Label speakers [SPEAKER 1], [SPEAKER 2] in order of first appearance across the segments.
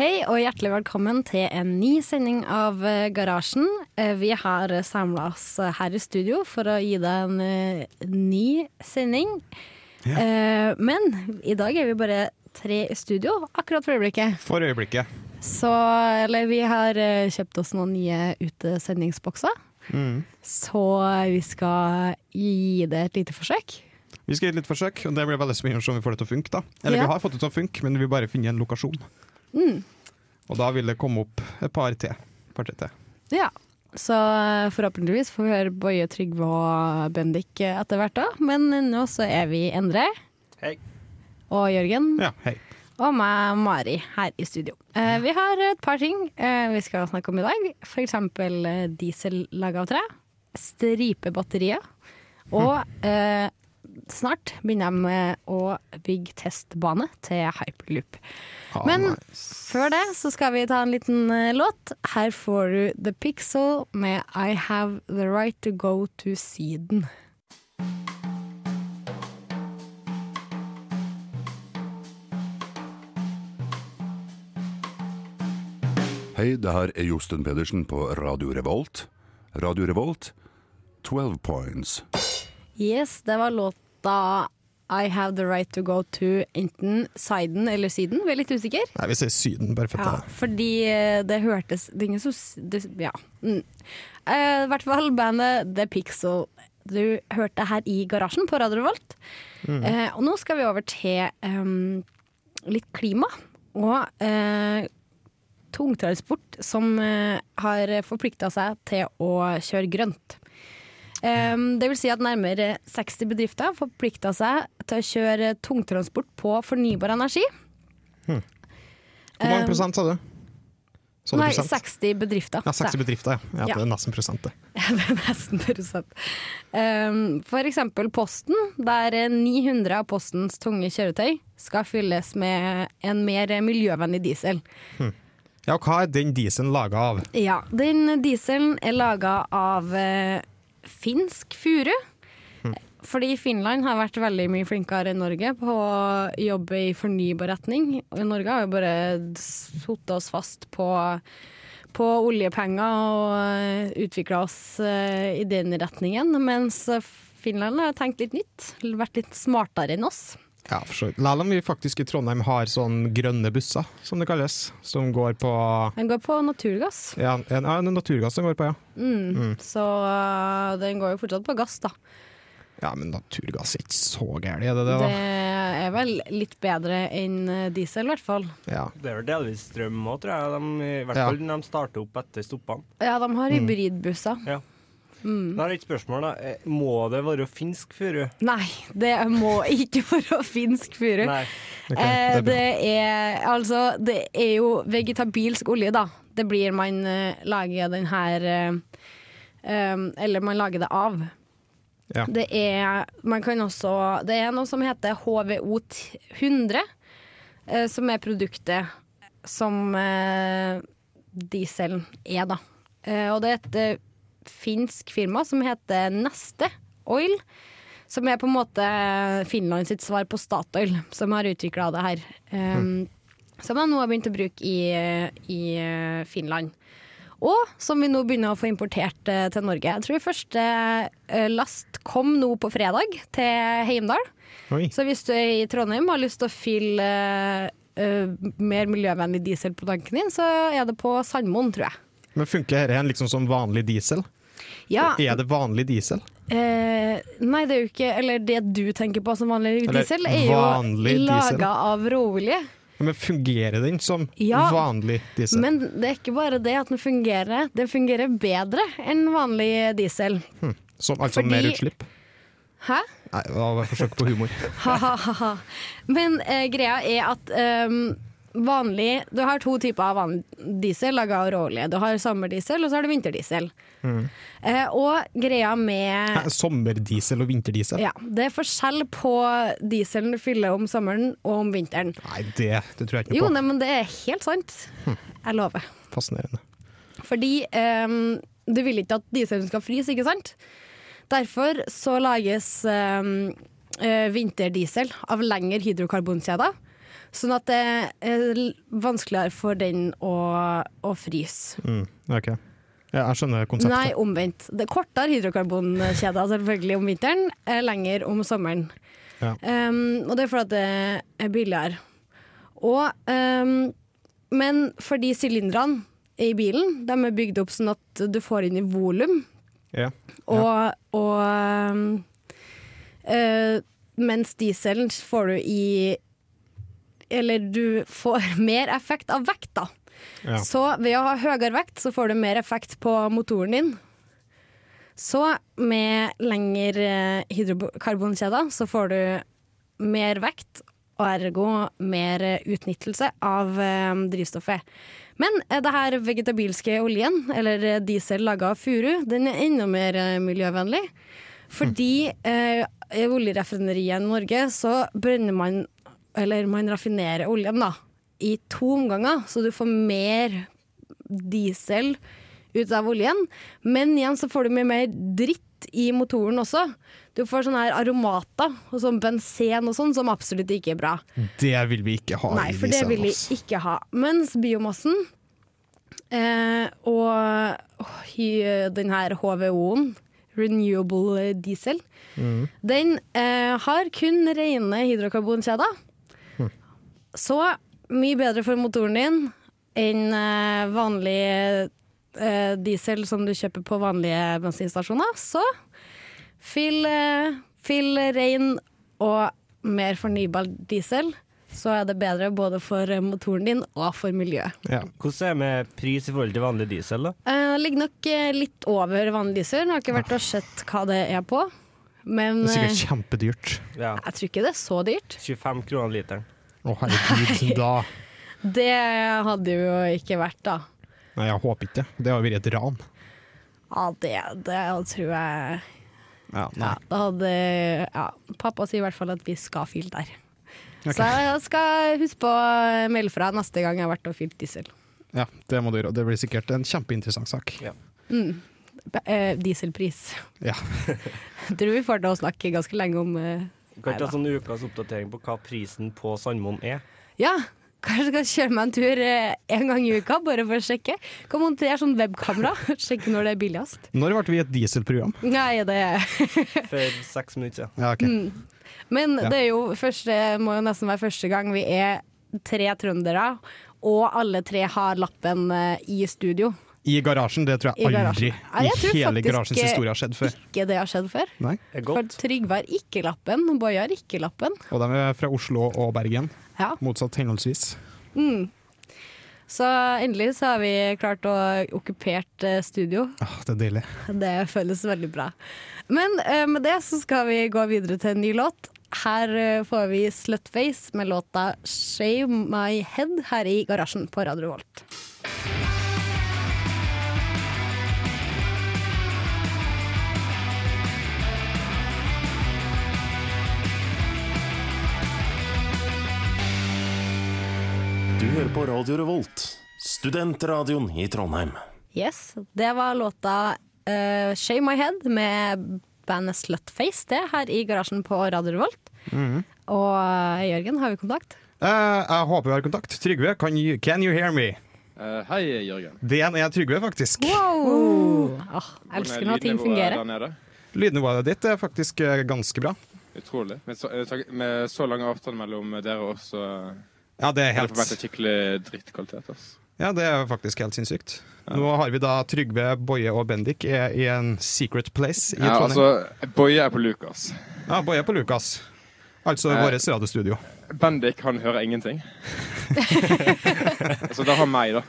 [SPEAKER 1] Hei og hjertelig velkommen til en ny sending av eh, Garasjen. Eh, Vi har samla oss eh, her i studio for å gi deg en eh, ny sending. Eh, Men i dag er vi bare tre i studio akkurat for øyeblikket.
[SPEAKER 2] For øyeblikket.
[SPEAKER 1] Så eller vi har eh, kjøpt oss noen nye utesendingsbokser. Så eh, vi skal gi det et lite forsøk.
[SPEAKER 2] Vi skal gi det litt forsøk, og det blir veldig spennende å se om vi får det til å funke. da. Eller
[SPEAKER 1] Ja. Mm.
[SPEAKER 2] vi har fått det til å funke, men vi vil bare finne en lokasjon. Og da vil det komme opp et par til. Par til. til.
[SPEAKER 1] Ja. Så eh, forhåpentligvis får vi høre Boje, Trygve og Bendik eh, etter hvert òg. Men nå så er vi Endre.
[SPEAKER 3] Hei.
[SPEAKER 1] Og Jørgen.
[SPEAKER 2] Ja, hei.
[SPEAKER 1] Og meg, Mari, her i studio. Eh, vi har et par ting eh, vi skal snakke om i dag. F.eks. diesel laga av tre. Stripebatterier. Og eh, snart begynner de med å bygge testbane til hyperloop.
[SPEAKER 2] Ah,
[SPEAKER 1] Men
[SPEAKER 2] nei.
[SPEAKER 1] før det så skal vi ta en liten eh, låt. Her får du The Pixel med I Have The Right To Go To Syden.
[SPEAKER 4] Hei, det her er Josten Pedersen på Radio Revolt. Radio Revolt, 12 points.
[SPEAKER 1] Yes, det var låta I Have The Right To Go To enten Syden eller Syden. Vi er litt usikre.
[SPEAKER 2] Nei, vi sier Syden, bare for
[SPEAKER 1] Ja,
[SPEAKER 2] at det.
[SPEAKER 1] fordi eh, det hørtes Det er ingen som s- det, Ja. Mm. Eh, I hvert fall bandet The Pixel. Du hørte det her i garasjen på Radio Revolt. Eh, og nå skal vi over til em, litt klima og eh, tungtransport som eh, har forplikta seg til å kjøre grønt. Em, det vil si at nærmere 60 bedrifter forplikta seg til å kjøre tungtransport på fornybar energi.
[SPEAKER 2] Hvor
[SPEAKER 1] Eh,
[SPEAKER 2] mange prosent sa du? Sa du
[SPEAKER 1] Nei,
[SPEAKER 2] prosent?
[SPEAKER 1] 60 bedrifter.
[SPEAKER 2] Ja, 60 bedrifter, ja. ja.
[SPEAKER 1] Ja.
[SPEAKER 2] Det er nesten prosent, det.
[SPEAKER 1] Ja, det er nesten prosent. Ehm, for eksempel Posten, der 900 av Postens tunge kjøretøy skal fylles med en mer miljøvennlig diesel.
[SPEAKER 2] Ja, og hva er den dieselen laga av?
[SPEAKER 1] Ja, den dieselen er laga av eh, finsk furu. Fordi Finland har vært veldig mye flinkere enn Norge på å jobbe i fornybar retning. Og Norge har jo bare sittet oss fast på, på oljepenger og utvikla oss eh, i den retningen. Mens Finland har tenkt litt nytt, vært litt smartere enn oss.
[SPEAKER 2] Ja, for så vidt. Selv om vi faktisk i Trondheim har sånn grønne busser, som det kalles, som går på
[SPEAKER 1] Den går på naturgass.
[SPEAKER 2] ja, en, ja, en naturgass som går på, ja.
[SPEAKER 1] Så eh, den går jo fortsatt på gass, da.
[SPEAKER 2] Ja, men naturgass er ikke så gærent, er det det? da?
[SPEAKER 1] Det er vel litt bedre enn eh, diesel, i hvert fall.
[SPEAKER 2] Ja.
[SPEAKER 3] Det er vel delvis strøm òg, tror jeg. De, I hvert
[SPEAKER 2] Ja.
[SPEAKER 3] fall når de starter opp etter stoppene.
[SPEAKER 1] Ja, de
[SPEAKER 2] Mm.
[SPEAKER 1] har hybridbusser.
[SPEAKER 3] Ja.
[SPEAKER 1] Mm.
[SPEAKER 3] Da har jeg et spørsmål, da. Eh, Må det være finsk furu?
[SPEAKER 1] Nei, det må ikke være finsk furu.
[SPEAKER 3] Nei.
[SPEAKER 2] Ok,
[SPEAKER 1] Eh,
[SPEAKER 2] det
[SPEAKER 1] det, er, altså, det er jo vegetabilsk olje, da. Det blir man eh, lager den her eh, um, Eller man lager det av.
[SPEAKER 2] Ja.
[SPEAKER 1] Det er Man kan også Det er noe som heter HVO 100, eh, som er produktet som eh, dieselen er, da. Eh, og det er et eh, finsk firma som heter Neste Oil. Som er på en måte eh, Finland sitt svar på Statoil, som har utvikla det her. Eh, Som de nå har begynt å bruke i, i eh, Finland. Og som vi nå begynner å få importert eh, til Norge. Jeg tror første eh, last kom nå på fredag til Heimdal.
[SPEAKER 2] Oi.
[SPEAKER 1] Så hvis du er i Trondheim og har lyst til å fylle eh, eh, mer miljøvennlig diesel på tanken din, så er det på Sandmoen, tror jeg.
[SPEAKER 2] Men funker dette liksom som vanlig diesel?
[SPEAKER 1] Ja,
[SPEAKER 2] Er det vanlig diesel?
[SPEAKER 1] eh, nei, det er jo ikke Eller det du tenker på som vanlig
[SPEAKER 2] Eller
[SPEAKER 1] diesel, er jo
[SPEAKER 2] vanlig diesel.
[SPEAKER 1] laga av råolje.
[SPEAKER 2] Men fungerer den som
[SPEAKER 1] Ja,
[SPEAKER 2] vanlig diesel?
[SPEAKER 1] Men det er ikke bare det at den fungerer. Den fungerer bedre enn vanlig diesel.
[SPEAKER 2] som, altså
[SPEAKER 1] fordi-
[SPEAKER 2] mer utslipp?
[SPEAKER 1] Hæ?
[SPEAKER 2] Nei, det var et forsøk på humor.
[SPEAKER 1] Ha-ha-ha. Men eh, greia er at ehm, vanlig Du har to typer av vanlig diesel laga av råolje. Du har sommerdiesel, og så har du vinterdiesel. Eh, og greia med
[SPEAKER 2] Hæ, Sommerdiesel og vinterdiesel?
[SPEAKER 1] ja, Det er forskjell på dieselen du fyller om sommeren og om vinteren.
[SPEAKER 2] Nei, det, det tror jeg ikke
[SPEAKER 1] Jo,
[SPEAKER 2] noe på.
[SPEAKER 1] nei, men det er helt sant. Jeg lover.
[SPEAKER 2] Fascinerende.
[SPEAKER 1] Fordi ehm, du vil ikke at dieselen skal fryse, ikke sant? Derfor så lages ehm, eh, vinterdiesel av lengre hydrokarbonkjeder. Sånn at det er l- vanskeligere for den å, å fryse.
[SPEAKER 2] Mm, ok. Ja, jeg skjønner konseptet.
[SPEAKER 1] Nei, omvendt. Det er kortere hydrokarbonkjeder selvfølgelig om vinteren, eh, lenger om sommeren.
[SPEAKER 2] Ja.
[SPEAKER 1] Um, og det er fordi at det er billigere. Og, um, men fordi sylindrene i bilen de er bygd opp sånn at du får inn i volum,
[SPEAKER 2] Ja.
[SPEAKER 1] og, og um, eh, mens dieselen får du i Eller du får mer effekt av vekt, da.
[SPEAKER 2] Ja.
[SPEAKER 1] Så ved å ha høyere vekt, så får du mer effekt på motoren din. Så med lengre hydrokarbonkjeder, så får du mer vekt, og ergo mer eh, utnyttelse av eh, drivstoffet. Men eh, det her vegetabilske oljen, eller eh, diesel laga av furu, den er enda mer eh, miljøvennlig. Fordi eh, i oljeraffineriet i Norge så brenner man Eller man raffinerer oljen da i to omganger, så du får mer diesel ut av oljen. Men igjen så får du mye mer dritt i motoren også. Du får sånne her aromater og sånn benzen og sånn, som absolutt ikke er bra.
[SPEAKER 2] Det vil vi ikke ha.
[SPEAKER 1] Nei,
[SPEAKER 2] i
[SPEAKER 1] for det
[SPEAKER 2] diesel,
[SPEAKER 1] vil de
[SPEAKER 2] ass.
[SPEAKER 1] ikke ha. Mens biomassen eh, og åh, hy- den her HVO-en, renewable diesel, den eh, har kun rene hydrokarbonkjeder. Så mye bedre for motoren din enn eh, vanlig eh, diesel som du kjøper på vanlige bensinstasjoner. Så fyll, eh, fyll ren og mer fornybar diesel, så er det bedre både for eh, motoren din og for miljøet.
[SPEAKER 2] Ja.
[SPEAKER 3] Hvordan er det med pris i forhold til vanlig diesel, da?
[SPEAKER 1] Eh, det ligger nok eh, litt over vanlig diesel. Jeg har ikke vært og sett hva det er på, men
[SPEAKER 2] Det er
[SPEAKER 1] eh,
[SPEAKER 2] sikkert kjempedyrt.
[SPEAKER 3] Ja.
[SPEAKER 1] jeg tror ikke det er så dyrt.
[SPEAKER 3] 25 kroner literen.
[SPEAKER 2] Å herregud, da
[SPEAKER 1] Det hadde jo ikke vært, da.
[SPEAKER 2] Nei, jeg håper ikke det. Det har vært et ran.
[SPEAKER 1] Ja, det, det tror jeg
[SPEAKER 2] Ja,
[SPEAKER 1] ja, da hadde, ja, Pappa sier i hvert fall at vi skal fylle der. Så jeg skal huske på å melde fra neste gang jeg har vært og fylt diesel.
[SPEAKER 2] Ja, det må du gjøre. Det blir sikkert en kjempeinteressant sak.
[SPEAKER 3] Ja.
[SPEAKER 1] Be- eh, dieselpris.
[SPEAKER 2] Ja.
[SPEAKER 1] Jeg tror vi får til å snakke ganske lenge om eh,
[SPEAKER 3] Du kan ikke
[SPEAKER 1] Neida.
[SPEAKER 3] ha sånn ukas oppdatering på hva prisen på Sandmoen er.
[SPEAKER 1] Ja, kanskje jeg skal kjøre meg en tur eh, en gang i uka, bare for å sjekke. Kan montere sånn webkamera, sjekke når det er billigst.
[SPEAKER 2] Når ble vi et dieselprogram?
[SPEAKER 1] Nei, det
[SPEAKER 3] For seks minutter siden.
[SPEAKER 2] Ja, ok.
[SPEAKER 1] Mm. Men
[SPEAKER 2] Ja.
[SPEAKER 1] det er jo første, må jo nesten være første gang vi er tre trøndere, og alle tre har lappen eh, i studio.
[SPEAKER 2] I garasjen, det tror jeg
[SPEAKER 1] I
[SPEAKER 2] aldri
[SPEAKER 1] garasjen. Nei, jeg tror
[SPEAKER 2] i hele
[SPEAKER 1] faktisk
[SPEAKER 2] garasjens
[SPEAKER 1] ikke-
[SPEAKER 2] historie har skjedd før.
[SPEAKER 1] Ikke det har skjedd før.
[SPEAKER 2] Nei.
[SPEAKER 3] Det er
[SPEAKER 1] For
[SPEAKER 3] godt.
[SPEAKER 1] Trygve har ikke lappen, Boje har ikke lappen.
[SPEAKER 2] Og de er fra Oslo og Bergen,
[SPEAKER 1] Ja.
[SPEAKER 2] motsatt henholdsvis.
[SPEAKER 1] Så endelig så har vi klart å okkupert eh, studio.
[SPEAKER 2] Åh, Ah, det er deilig.
[SPEAKER 1] Det føles veldig bra. Men eh, med det så skal vi gå videre til en ny låt. Her eh, får vi Slutface med låta 'Shave My Head' her i garasjen på Radio Volt.
[SPEAKER 5] Du hører på Radio Revolt, studentradioen i Trondheim.
[SPEAKER 1] Yes, det var låta eh, 'Shave My Head' med bandet Slutface, det, her i garasjen på Radio Volt. Og eh, Jørgen, har vi kontakt?
[SPEAKER 2] Eh, jeg håper vi har kontakt. Trygve, can you, can you hear me?
[SPEAKER 6] Eh, hei, Jørgen.
[SPEAKER 2] Det igjen er Trygve, faktisk.
[SPEAKER 1] Wow!
[SPEAKER 6] Hvordan er
[SPEAKER 1] elsker når ting
[SPEAKER 6] lydnivået
[SPEAKER 1] fungerer.
[SPEAKER 6] Der nede?
[SPEAKER 2] Lydnivået ditt er faktisk eh, ganske bra.
[SPEAKER 6] Utrolig. Med så, eh, tak- med så lang avstand mellom dere og oss, så
[SPEAKER 2] Ja, det er
[SPEAKER 6] har det
[SPEAKER 2] helt,
[SPEAKER 6] forventet skikkelig drittkvalitet. ass.
[SPEAKER 2] ja, det er faktisk helt sinnssykt. Nå har vi da Trygve, Boje og Bendik er i en secret place i
[SPEAKER 6] Ja,
[SPEAKER 2] Trondheim.
[SPEAKER 6] altså, Boje er på Lukas.
[SPEAKER 2] Ja, Boje er på Lukas. Altså
[SPEAKER 6] Eh.
[SPEAKER 2] vårt radiostudio.
[SPEAKER 6] Bendik han hører ingenting. altså, der har meg, da.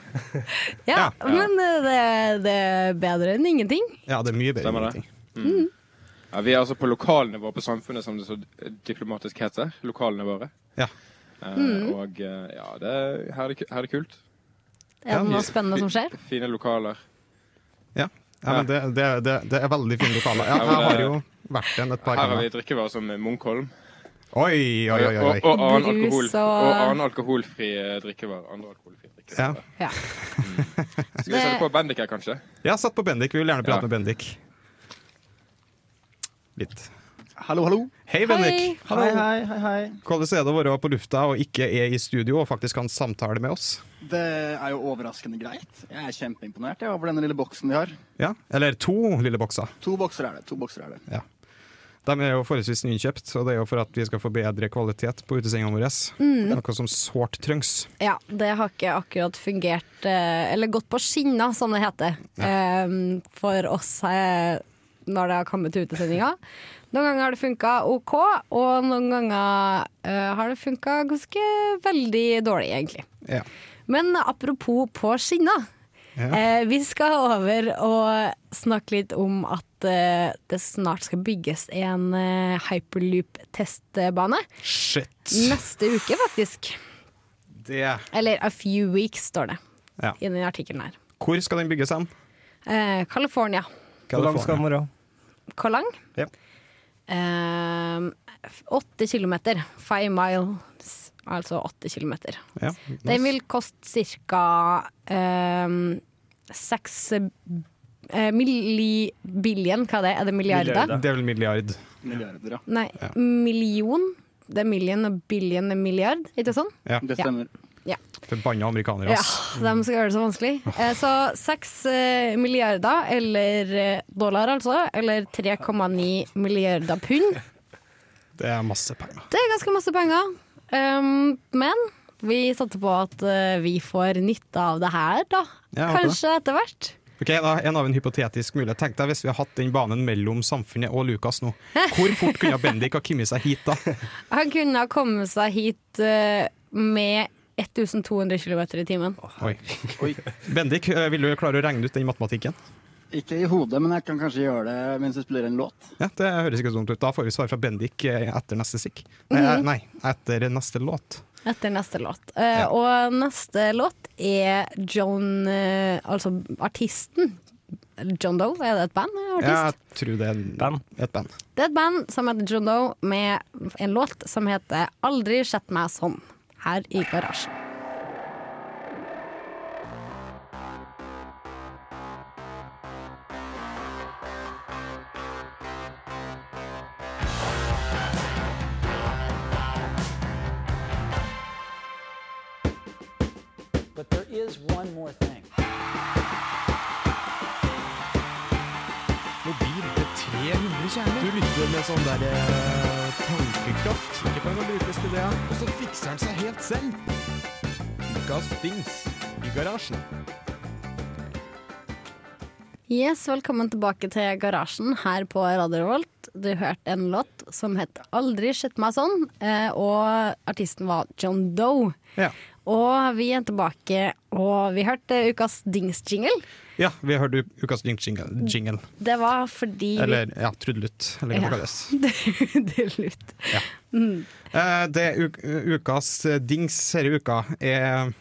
[SPEAKER 1] Ja,
[SPEAKER 6] Ja.
[SPEAKER 1] men eh, det, det er bedre enn ingenting.
[SPEAKER 2] Ja, det er mye bedre. enn
[SPEAKER 6] Stemmer det.
[SPEAKER 2] ingenting.
[SPEAKER 6] Ja, vi er altså på lokalnivå på samfunnet, som det så diplomatisk heter. Lokalnivået.
[SPEAKER 2] Ja.
[SPEAKER 6] Eh,
[SPEAKER 1] Mm.
[SPEAKER 6] Og eh, ja, det, er- her, er det, ku- her er det kult.
[SPEAKER 1] Er
[SPEAKER 2] Ja.
[SPEAKER 1] det noe spennende som skjer?
[SPEAKER 6] Fine lokaler.
[SPEAKER 2] Ja, ja men det, det, det, det er veldig fine lokaler. Ja,
[SPEAKER 6] Ja, men
[SPEAKER 2] jeg har
[SPEAKER 6] det-
[SPEAKER 2] jo vært den et par
[SPEAKER 6] Her har vi
[SPEAKER 2] ganger.
[SPEAKER 6] drikkevarer som Munkholm.
[SPEAKER 2] Oi, oi, oi. oi.
[SPEAKER 6] Og, og, annen alkohol,
[SPEAKER 1] Brus og-
[SPEAKER 6] og annen alkoholfri eh, drikkevarer. Andre alkoholfri drikkevarer.
[SPEAKER 2] Ja.
[SPEAKER 1] Ja.
[SPEAKER 6] Skal vi
[SPEAKER 1] Det-
[SPEAKER 6] sette på Bendik her, kanskje?
[SPEAKER 2] Jeg har satt på Bendik. Vi vil gjerne
[SPEAKER 6] Ja.
[SPEAKER 2] prate med Bendik. Litt.
[SPEAKER 7] Hallo, hallo.
[SPEAKER 2] Hei, Bendik!
[SPEAKER 7] Hei, hei, hei, hei.
[SPEAKER 2] Hvordan er det å være på lufta og ikke er i studio og faktisk kan samtale med oss?
[SPEAKER 7] Det er jo overraskende greit. Jeg er kjempeimponert jeg, over denne lille boksen vi har.
[SPEAKER 2] Ja, Eller to lille bokser.
[SPEAKER 7] To bokser er det. to bokser er det.
[SPEAKER 2] De er jo forholdsvis nyinnkjøpt, og det er jo for at vi skal få bedre kvalitet på utesendingene våre. Noe som sårt trengs.
[SPEAKER 1] Ja, det har ikke akkurat fungert eh, Eller gått på skinner, som det heter. eh, For oss eh, når det har kommet til utesendinger. Noen ganger har det funka OK, og noen ganger eh, har det funka ganske veldig dårlig, egentlig.
[SPEAKER 2] Ja.
[SPEAKER 1] Men apropos på skinner.
[SPEAKER 2] Ja.
[SPEAKER 1] Eh, vi skal over og snakke litt om at eh, det snart skal bygges en eh, hyperloop-testbane.
[SPEAKER 2] Shit!
[SPEAKER 1] Neste uke, faktisk.
[SPEAKER 2] Det
[SPEAKER 1] Eller a few weeks, står det
[SPEAKER 2] Ja.
[SPEAKER 1] i den artikkelen her.
[SPEAKER 2] Hvor skal den bygges hen?
[SPEAKER 1] Eh, California.
[SPEAKER 3] Hvor langt skal
[SPEAKER 2] California.
[SPEAKER 3] den være?
[SPEAKER 1] Hvor lang?
[SPEAKER 2] Ja.
[SPEAKER 1] Eh, åtte kilometer. Five miles, altså åtte kilometer.
[SPEAKER 2] Ja,
[SPEAKER 1] Den
[SPEAKER 2] nice.
[SPEAKER 1] vil koste ca. Eh, seks eh, milli... Billion, hva er det? Er det milliarder?
[SPEAKER 3] Milliarder.
[SPEAKER 2] Det er vel milliard.
[SPEAKER 7] Milliarder, ja.
[SPEAKER 1] Nei, million. Det er million, og billion er milliard, ikke sånn?
[SPEAKER 7] Det stemmer.
[SPEAKER 2] Forbanna amerikanere,
[SPEAKER 1] Ja,
[SPEAKER 2] ass.
[SPEAKER 1] de skal gjøre det så vanskelig. Eh, Så seks eh, milliarder, eller eh, dollar altså, eller 3,9 milliarder pund.
[SPEAKER 2] Det er masse penger.
[SPEAKER 1] Det er ganske masse penger. Um, men vi satser på at eh, vi får nytte av det her, da.
[SPEAKER 2] Ja, jeg håper
[SPEAKER 1] Kanskje etter hvert.
[SPEAKER 2] Ok, da, En av en hypotetisk mulighet. Tenk deg hvis vi har hatt den banen mellom Samfunnet og Lukas nå. Hvor fort kunne Bendik ha kommet seg hit da?
[SPEAKER 1] Han kunne ha kommet seg hit eh, med 1200 km i timen.
[SPEAKER 2] Oi. Bendik, eh, vil du klare å regne ut den matematikken?
[SPEAKER 7] Ikke i hodet, men jeg kan kanskje gjøre det mens jeg spiller en låt.
[SPEAKER 2] Ja, Det høres ikke dumt ut. Da får vi svar fra Bendik eh, etter neste stikk.
[SPEAKER 1] Mhm.
[SPEAKER 2] Nei, eh, nei, etter neste låt.
[SPEAKER 1] Etter neste låt. Eh,
[SPEAKER 2] Ja.
[SPEAKER 1] Og neste låt er Joan eh, Altså artisten. John Doe, er det et band? Er det Artist?
[SPEAKER 2] Jeg tror det er en-
[SPEAKER 3] Band.
[SPEAKER 2] et band.
[SPEAKER 1] Det er et band som heter John Doe, med en låt som heter 'Aldri sett meg sånn', her i garasjen.
[SPEAKER 8] But there is one more thing.
[SPEAKER 1] Yes, velkommen tilbake til garasjen her på Radio Revolt. Du hørte en låt som het 'Aldri sett meg sånn', eh, og artisten var John Doe.
[SPEAKER 2] Ja.
[SPEAKER 1] Og vi er tilbake, og vi hørte ukas dingsjingle.
[SPEAKER 2] ja, vi hørte ukas jingle. jingle.
[SPEAKER 1] Det var fordi vi-
[SPEAKER 2] Eller ja, trudelutt, eller hva det
[SPEAKER 1] Ja.
[SPEAKER 2] kalles.
[SPEAKER 1] Det er lurt.
[SPEAKER 2] Eh, Det u ukas eh, dings denne uka er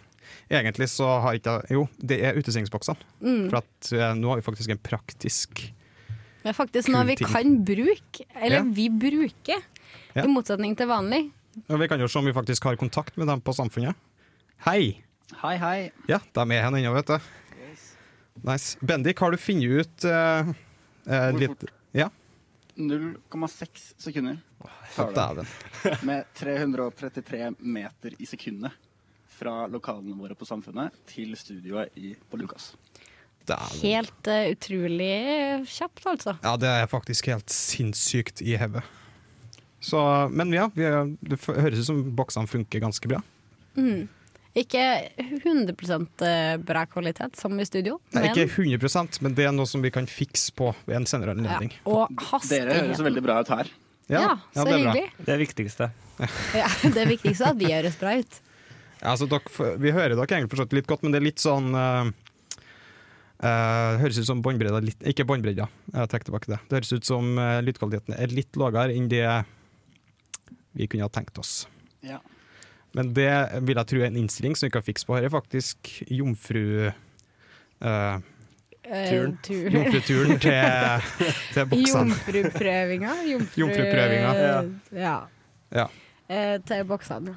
[SPEAKER 2] Egentlig så har ikke jeg Jo, det er utestillingsboksene. For at eh, nå har vi faktisk en praktisk
[SPEAKER 1] Det er faktisk noe vi
[SPEAKER 2] ting.
[SPEAKER 1] kan bruke, eller
[SPEAKER 2] Ja.
[SPEAKER 1] vi bruker,
[SPEAKER 2] Ja.
[SPEAKER 1] i motsetning til vanlig.
[SPEAKER 2] Og Vi kan jo se om vi faktisk har kontakt med dem på Samfunnet. Hei!
[SPEAKER 7] Hei, hei.
[SPEAKER 2] Ja, de er her ennå, vet du. Nice. Bendik, har du funnet ut eh, eh,
[SPEAKER 7] Hvor
[SPEAKER 2] litt Ja,
[SPEAKER 7] 0,6 sekunder tar det
[SPEAKER 2] dæven.
[SPEAKER 7] med 333 meter i sekundet fra lokalene våre på Samfunnet til studioet i, på Lukas.
[SPEAKER 2] Dæven.
[SPEAKER 1] Helt eh, utrolig kjapt, altså.
[SPEAKER 2] Ja, det er faktisk helt sinnssykt i hodet. Så Men ja, vi, er- det f- høres ut som boksene funker ganske bra.
[SPEAKER 1] Ikke 100 bra kvalitet, som i studio,
[SPEAKER 2] Nei,
[SPEAKER 1] men
[SPEAKER 2] ikke 100 men det er noe som vi kan fikse på ved en senere
[SPEAKER 1] ja,
[SPEAKER 2] anledning.
[SPEAKER 1] Og
[SPEAKER 7] Dere
[SPEAKER 1] hastighet.
[SPEAKER 7] høres veldig bra ut her.
[SPEAKER 1] Ja, så
[SPEAKER 2] det er bra.
[SPEAKER 1] hyggelig.
[SPEAKER 3] Det er viktigste.
[SPEAKER 1] Ja, det er viktigste er at vi høres bra ut.
[SPEAKER 2] Ja, altså, dere, f- vi hører dere egentlig forstått litt godt, men det er litt sånn eh, eh, Høres ut som båndbredda litt Ikke båndbredda, jeg trekker tilbake det. Det høres ut som eh, lydkvaliteten er litt lavere enn det vi kunne ha tenkt oss.
[SPEAKER 7] Ja.
[SPEAKER 2] Men det vil jeg tro er en innstilling som vi kan fikse på. Her er faktisk jomfru... eh,
[SPEAKER 1] Eh,
[SPEAKER 2] Turen.
[SPEAKER 1] tur-
[SPEAKER 2] jomfruturen til, til boksene.
[SPEAKER 1] Jomfruprøvinga. Jomfru,
[SPEAKER 2] Jomfruprøvinga,
[SPEAKER 3] ja.
[SPEAKER 1] Ja.
[SPEAKER 2] Ja.
[SPEAKER 1] Eh, til boksene.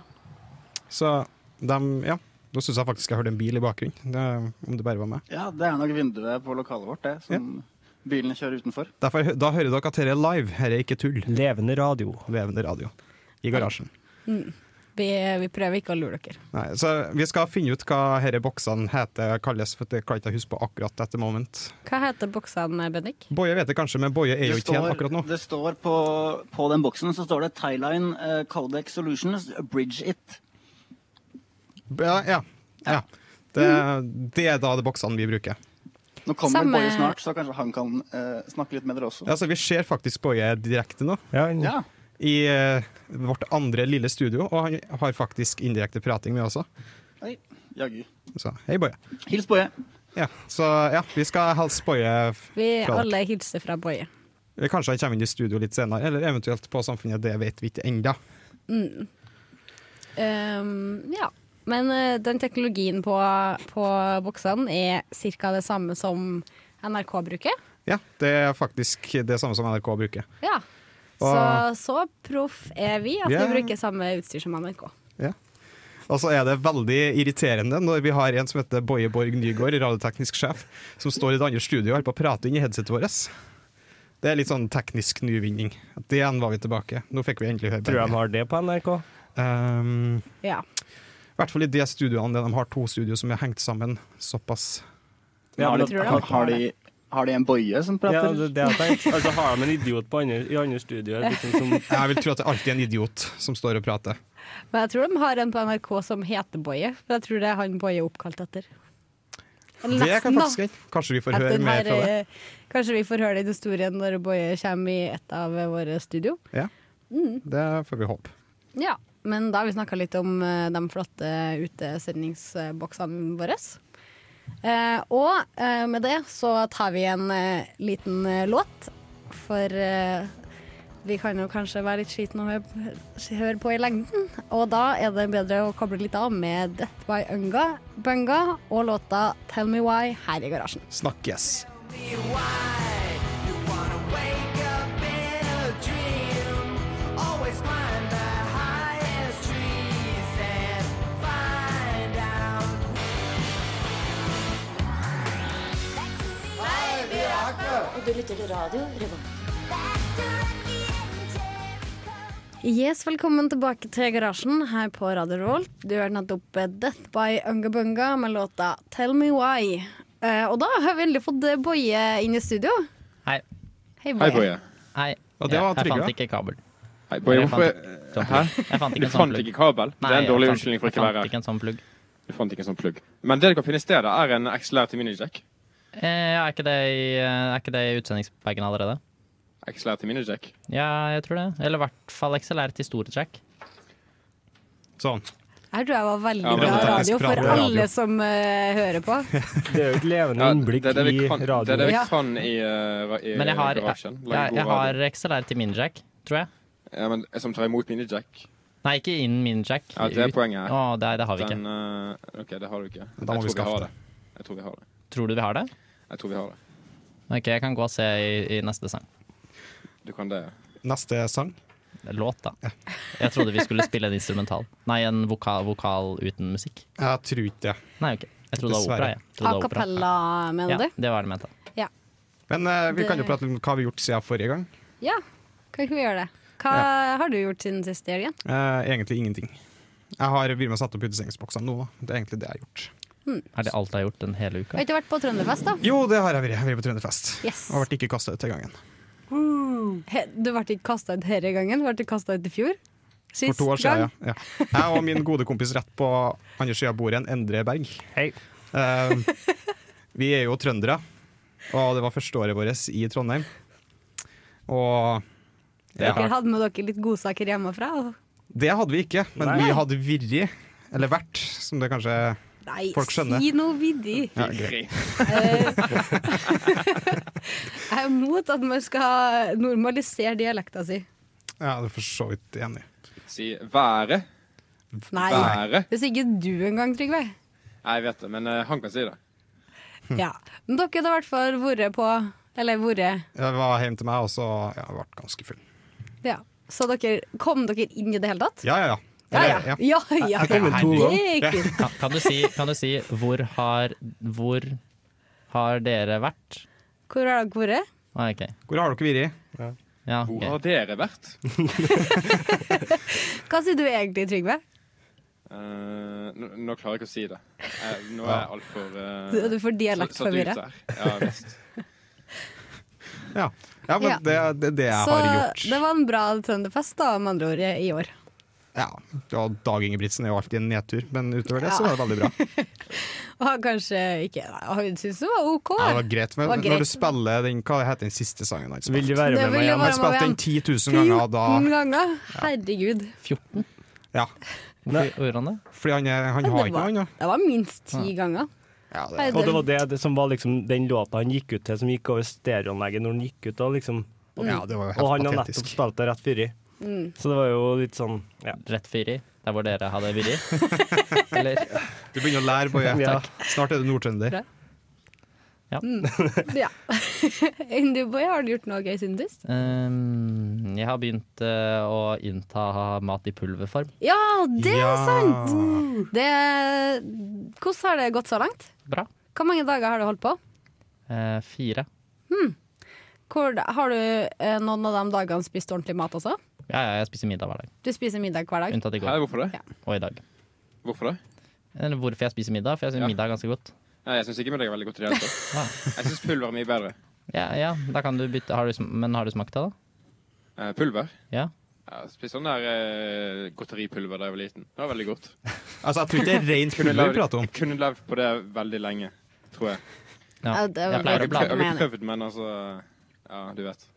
[SPEAKER 2] Så de, ja. Nå syns jeg faktisk jeg hørte en bil i bakgrunnen, det, om det bare var meg.
[SPEAKER 7] ja, det er nok vinduet på lokalet vårt, det, som Bilene kjører utenfor.
[SPEAKER 2] Derfor, da hører dere at dette er live. Dette er ikke tull.
[SPEAKER 3] Levende radio.
[SPEAKER 2] Levende radio. I garasjen.
[SPEAKER 1] Vi, vi prøver ikke å lure dere.
[SPEAKER 2] Nei, så vi skal finne ut hva disse boksene heter kalles, for det kan jeg ikke huske på akkurat dette moment.
[SPEAKER 1] Hva heter boksene, Bendik?
[SPEAKER 2] Boje vet det kanskje, men Boje er jo ikke igjen akkurat nå.
[SPEAKER 7] det står på, på den boksen så står det Thailine eh, Codex Solutions Bridge It.
[SPEAKER 2] Ja, ja, ja. Det, det er da de boksene vi bruker.
[SPEAKER 7] Nå kommer
[SPEAKER 1] Samme-
[SPEAKER 7] Boje snart, så kanskje han kan eh, snakke litt med dere også.
[SPEAKER 2] Altså, vi ser faktisk Boje direkte nå,
[SPEAKER 3] Ja,
[SPEAKER 7] Ja.
[SPEAKER 2] i eh, vårt andre lille studio, og han har faktisk indirekte prating med oss også.
[SPEAKER 7] Oi, jaggu.
[SPEAKER 2] Så hei, Boje.
[SPEAKER 7] Hils Boje.
[SPEAKER 2] Ja, så ja, vi skal helst Boje f-
[SPEAKER 1] Vi
[SPEAKER 2] fra dere.
[SPEAKER 1] alle hilser fra Boje.
[SPEAKER 2] Kanskje han kommer inn i studio litt senere, eller eventuelt på Samfunnet, det vet vi ikke ennå.
[SPEAKER 1] Ehm, ja. Men eh, den teknologien på, på boksene er ca. det samme som NRK bruker.
[SPEAKER 2] Ja, det er faktisk det samme som NRK bruker.
[SPEAKER 1] Ja. Så,
[SPEAKER 2] Hva-
[SPEAKER 1] så proff er vi at
[SPEAKER 2] Ja.
[SPEAKER 1] vi bruker samme utstyr som NRK.
[SPEAKER 2] Ja. Og så er det veldig irriterende når vi har en som heter Boje Borg Nygaard, radioteknisk sjef, som står i det andre studioet og holder på å prate inn i headsetet vårt. Det er litt sånn teknisk nyvinning. Det igjen var vi tilbake. Nå fikk vi endelig høre
[SPEAKER 3] Tror du de
[SPEAKER 2] Benny.
[SPEAKER 3] har det på NRK?
[SPEAKER 2] Ehm,
[SPEAKER 1] Ja.
[SPEAKER 2] I hvert fall i de studioene der de har to studioer som er hengt sammen såpass.
[SPEAKER 3] Ja,
[SPEAKER 7] har,
[SPEAKER 3] men
[SPEAKER 7] de,
[SPEAKER 1] tror jeg
[SPEAKER 7] har,
[SPEAKER 1] han
[SPEAKER 7] har, de, har de en Boje som
[SPEAKER 3] Ja,
[SPEAKER 7] prater?
[SPEAKER 3] det, det jeg tenkte. Altså, har de en idiot på andre, i andre studioer? Liksom, som,
[SPEAKER 2] Jeg vil tro at det alltid er en idiot som står og prater.
[SPEAKER 1] Men jeg tror de har en på NRK som heter Boje, for jeg tror det er han Boje er oppkalt etter. Eller
[SPEAKER 2] Det kan
[SPEAKER 1] nesten, da.
[SPEAKER 2] faktisk hende. Kanskje vi får
[SPEAKER 1] At
[SPEAKER 2] høre
[SPEAKER 1] den
[SPEAKER 2] mer
[SPEAKER 1] her,
[SPEAKER 2] fra det.
[SPEAKER 1] eh, Kanskje vi får høre den historien når Boje kommer i et av eh, våre studio.
[SPEAKER 2] Ja.
[SPEAKER 1] eh, mm.
[SPEAKER 2] Det får vi håpe.
[SPEAKER 1] Ja, men da har vi snakka litt om eh, de flotte utesendingsboksene våre. Eh, og eh, med det så tar vi en eh, liten eh, låt, for eh, vi kan jo kanskje være litt slitne å høre, høre på i lengden. Og da er det bedre å koble litt av med Death by Unga, Bunga og låta 'Tell Me Why' her i garasjen.
[SPEAKER 2] Snakkes.
[SPEAKER 9] Og du lytter til radio Revolt.
[SPEAKER 1] Yes, Velkommen tilbake til garasjen her på Radio Revolt. Du hørte nettopp eh, Death by Unga Bunga med låta 'Tell Me Why'. Eh, og da har vi endelig fått eh, Boje inn i studio.
[SPEAKER 10] Hei.
[SPEAKER 1] Hei,
[SPEAKER 6] Hei, Boje.
[SPEAKER 10] Hei.
[SPEAKER 2] Og det
[SPEAKER 10] Ja,
[SPEAKER 2] var
[SPEAKER 10] jeg
[SPEAKER 2] trygge.
[SPEAKER 10] fant ikke kabel.
[SPEAKER 6] Hei, Boje,
[SPEAKER 10] Jeg fant
[SPEAKER 6] hvorfor
[SPEAKER 10] ikke-
[SPEAKER 6] Hæ?
[SPEAKER 10] Jeg fant
[SPEAKER 6] Du
[SPEAKER 10] ikke en sånn
[SPEAKER 6] fant
[SPEAKER 10] plugg.
[SPEAKER 6] ikke kabel? Det er
[SPEAKER 10] Nei,
[SPEAKER 6] en
[SPEAKER 10] jeg
[SPEAKER 6] dårlig
[SPEAKER 10] fant-
[SPEAKER 6] unnskyldning for ikke å
[SPEAKER 10] Jeg
[SPEAKER 6] være
[SPEAKER 10] fant
[SPEAKER 6] her.
[SPEAKER 10] ikke en sånn plugg.
[SPEAKER 6] Du fant ikke en sånn plugg. Men det du kan finne i stedet, er en XLR til minijack.
[SPEAKER 10] Eh, ja, er, ikke det i, eh, er ikke det i utsendingsbagen allerede?
[SPEAKER 6] XLR til minijack.
[SPEAKER 10] Ja, jeg tror det. Eller i hvert fall XLR til store jack.
[SPEAKER 2] Sånn.
[SPEAKER 1] Her tror jeg var veldig
[SPEAKER 6] Ja, men
[SPEAKER 1] bra
[SPEAKER 6] det er
[SPEAKER 1] radio
[SPEAKER 2] faktisk bra
[SPEAKER 1] for
[SPEAKER 2] radio.
[SPEAKER 1] alle som eh, hører på.
[SPEAKER 3] det er jo et levende
[SPEAKER 6] Ja, det
[SPEAKER 3] innblikk
[SPEAKER 6] er det vi
[SPEAKER 3] i
[SPEAKER 6] kan, det er det
[SPEAKER 3] radioen.
[SPEAKER 6] vi
[SPEAKER 1] Ja.
[SPEAKER 6] kan i, eh, ra- i
[SPEAKER 10] Men jeg har, jeg,
[SPEAKER 6] garasjen. Lage
[SPEAKER 10] jeg,
[SPEAKER 6] god
[SPEAKER 10] jeg
[SPEAKER 6] radio.
[SPEAKER 10] har XLR til min jack, tror jeg.
[SPEAKER 6] Ja, men, som tar imot minijack.
[SPEAKER 10] Nei, ikke innen min jack.
[SPEAKER 6] Ja, det er
[SPEAKER 10] Ut-
[SPEAKER 6] poenget her.
[SPEAKER 10] Å, det, det har vi
[SPEAKER 6] Den,
[SPEAKER 10] ikke.
[SPEAKER 6] eh, OK, det har du ikke.
[SPEAKER 2] Da må vi
[SPEAKER 6] jeg tror vi
[SPEAKER 2] skaffe
[SPEAKER 6] har
[SPEAKER 2] det.
[SPEAKER 6] det. Jeg tror vi har det.
[SPEAKER 10] Tror du vi har det?
[SPEAKER 6] Jeg tror vi har det.
[SPEAKER 10] Ok, jeg kan gå og se i, i neste sang.
[SPEAKER 6] Du kan det.
[SPEAKER 2] Neste sang.
[SPEAKER 10] Låt, da. Jeg trodde vi skulle spille en instrumental. Nei, en vokal, vokal uten musikk.
[SPEAKER 2] Jeg tror ikke det.
[SPEAKER 10] Nei, ok. Jeg trodde det var opera,
[SPEAKER 2] Dessverre.
[SPEAKER 10] jeg. Trodde
[SPEAKER 1] A
[SPEAKER 10] det var opera.
[SPEAKER 1] cappella, mener
[SPEAKER 10] Ja, det var det jeg mente.
[SPEAKER 1] du? Ja.
[SPEAKER 2] Men eh, vi
[SPEAKER 1] Det-
[SPEAKER 2] kan jo prate litt om hva vi har gjort siden forrige gang.
[SPEAKER 1] ja. Kan ikke vi gjøre det? Hva har du gjort siden sist, Jørgen?
[SPEAKER 2] Eh, egentlig ingenting. Jeg har vært med og satt opp utesendingsboksene nå. Det er egentlig det jeg har gjort.
[SPEAKER 10] Er det alt jeg har gjort den hele
[SPEAKER 1] Har
[SPEAKER 10] uka?
[SPEAKER 1] ikke vært på Trønderfest, da?
[SPEAKER 2] Jo, det har jeg vært. Jeg har vært på Trønderfest.
[SPEAKER 1] Yes.
[SPEAKER 2] Og ble ikke kasta ut til gangen.
[SPEAKER 1] He, du ble ikke kasta ut denne gangen, ble du kasta ut i fjor?
[SPEAKER 2] For
[SPEAKER 1] Sist
[SPEAKER 2] to år siden, ja. ja. Jeg og min gode kompis rett på andre sida av bordet, en Endre Berg.
[SPEAKER 3] Hei.
[SPEAKER 2] Eh, vi er jo trøndere, og det var første året vårt i Trondheim. Og
[SPEAKER 1] Dere hadde med dere litt godsaker hjemmefra? og-
[SPEAKER 2] Det hadde vi ikke, men
[SPEAKER 3] Nei.
[SPEAKER 2] vi hadde virri, eller vært, som det kanskje
[SPEAKER 1] Nei,
[SPEAKER 2] Folk skjønner.
[SPEAKER 1] si noe viddig!
[SPEAKER 2] ja, greit.
[SPEAKER 1] Jeg er imot at man skal normalisere dialekta si.
[SPEAKER 2] Ja, det er for så vidt enig.
[SPEAKER 6] Si været.
[SPEAKER 1] Nei.
[SPEAKER 6] Været.
[SPEAKER 1] Hvis ikke du engang, Trygve.
[SPEAKER 6] Nei, Jeg vet det, men eh, han kan si det.
[SPEAKER 2] Hm.
[SPEAKER 1] Ja. Men dere hadde i hvert fall vært på Eller vært
[SPEAKER 2] Jeg var hjemme til meg, og så ja, jeg ble ganske full.
[SPEAKER 1] Ja. Så dere kom dere inn i det hele tatt?
[SPEAKER 2] Ja, ja, ja.
[SPEAKER 1] Ja, ja. ja, ja.
[SPEAKER 2] Jeg kom inn to
[SPEAKER 1] Det gikk fint.
[SPEAKER 10] Kan, kan, du si, kan du si hvor har, hvor har dere vært?
[SPEAKER 1] Hvor har dere vært?
[SPEAKER 10] Ah, ok.
[SPEAKER 2] Hvor har dere vært?
[SPEAKER 10] Ja,
[SPEAKER 6] Hvor
[SPEAKER 10] ok.
[SPEAKER 6] har dere vært?
[SPEAKER 1] Hva sier du egentlig, Trygve?
[SPEAKER 6] Eh, nå, nå klarer jeg ikke å si det. Eh, nå er jeg altfor
[SPEAKER 1] Du du
[SPEAKER 6] uh,
[SPEAKER 1] er for dialektforvirra.
[SPEAKER 6] Ja visst.
[SPEAKER 2] Ja, ja men
[SPEAKER 1] Ja.
[SPEAKER 2] Det er det, det jeg
[SPEAKER 1] Så
[SPEAKER 2] har gjort.
[SPEAKER 1] det var en bra trønderfest, da, med andre ord, i år.
[SPEAKER 2] Ja, det var Dag Ingebrigtsen er jo alltid en nedtur, men utover det så var det veldig bra.
[SPEAKER 1] Og han kanskje ikke Nei, Hun syntes det var OK.
[SPEAKER 2] Ja, det var greit, men
[SPEAKER 1] Det var greit.
[SPEAKER 2] når du spiller den Hva heter den siste sangen han
[SPEAKER 3] Vil du
[SPEAKER 2] spilte?
[SPEAKER 3] være
[SPEAKER 1] Det
[SPEAKER 3] med
[SPEAKER 1] vil
[SPEAKER 3] meg
[SPEAKER 1] jo
[SPEAKER 3] hjem?
[SPEAKER 1] være-
[SPEAKER 2] Han spilte den 10 000 ganger, og
[SPEAKER 1] 14
[SPEAKER 2] da
[SPEAKER 1] ganger. Herregud.
[SPEAKER 10] 14?
[SPEAKER 2] Ja,
[SPEAKER 10] Hvorfor gjorde han det?
[SPEAKER 2] fordi han, er- han
[SPEAKER 1] Ja,
[SPEAKER 2] har
[SPEAKER 1] det
[SPEAKER 2] ikke noe
[SPEAKER 1] var,
[SPEAKER 2] annet.
[SPEAKER 1] det var minst ti ganger.
[SPEAKER 2] Ja, det-
[SPEAKER 1] Nei,
[SPEAKER 3] Og det var det, det som var liksom den låta han gikk ut til, som gikk over stereoanlegget når han gikk ut. Da, liksom.
[SPEAKER 2] Ja, det var jo
[SPEAKER 3] Og han
[SPEAKER 2] helt
[SPEAKER 3] har nettopp
[SPEAKER 2] patetisk.
[SPEAKER 3] spilt det rett fyri. Så det var jo litt sånn ja.
[SPEAKER 10] Rett fyr i? Der hvor dere hadde vært? Eller?
[SPEAKER 2] Du begynner å lære, Boje.
[SPEAKER 3] Ja.
[SPEAKER 2] Snart er du nordtrønder.
[SPEAKER 1] Ja. Enn du, Boy, har du gjort noe gøy siden sist?
[SPEAKER 10] Ehm, jeg har begynt eh, å innta mat i pulverform.
[SPEAKER 1] Ja, det er
[SPEAKER 2] Ja.
[SPEAKER 1] sant! Det, hvordan har det gått så langt?
[SPEAKER 10] Bra.
[SPEAKER 1] Hvor mange dager har du holdt på?
[SPEAKER 10] Eh, fire.
[SPEAKER 1] Hvor, har du eh, noen av de dagene spist ordentlig mat også?
[SPEAKER 10] Ja, ja, jeg spiser middag hver dag.
[SPEAKER 1] Du spiser middag hver dag.
[SPEAKER 10] Unntatt i
[SPEAKER 6] Hæ,
[SPEAKER 10] går
[SPEAKER 6] hvorfor det?
[SPEAKER 10] og i dag.
[SPEAKER 6] Hvorfor det?
[SPEAKER 10] Eller hvorfor jeg spiser middag, for jeg syns
[SPEAKER 6] Ja.
[SPEAKER 10] middag er ganske godt.
[SPEAKER 6] Nei, jeg syns ikke middag er veldig godt i det hele tatt. Jeg syns pulver er mye bedre.
[SPEAKER 10] Ja, ja, da kan du bytte har du, sm- Men har du smakt det, da?
[SPEAKER 6] Eh, pulver?
[SPEAKER 10] Ja.
[SPEAKER 6] Jeg spiste sånn der eh, godteripulver da jeg var liten. Det var veldig godt.
[SPEAKER 2] Altså, jeg tror ikke det er rent
[SPEAKER 6] Kunne
[SPEAKER 2] pulver vi
[SPEAKER 6] levd-
[SPEAKER 2] prater om.
[SPEAKER 6] jeg kunne levd på det veldig lenge, tror jeg.
[SPEAKER 10] ja.
[SPEAKER 1] Ja, det var
[SPEAKER 10] Jeg
[SPEAKER 6] Jeg
[SPEAKER 10] pleier
[SPEAKER 6] har ikke prøvd-
[SPEAKER 10] å blande.
[SPEAKER 6] jeg har
[SPEAKER 1] Mening.
[SPEAKER 6] ikke prøvd, men altså Ja, du vet.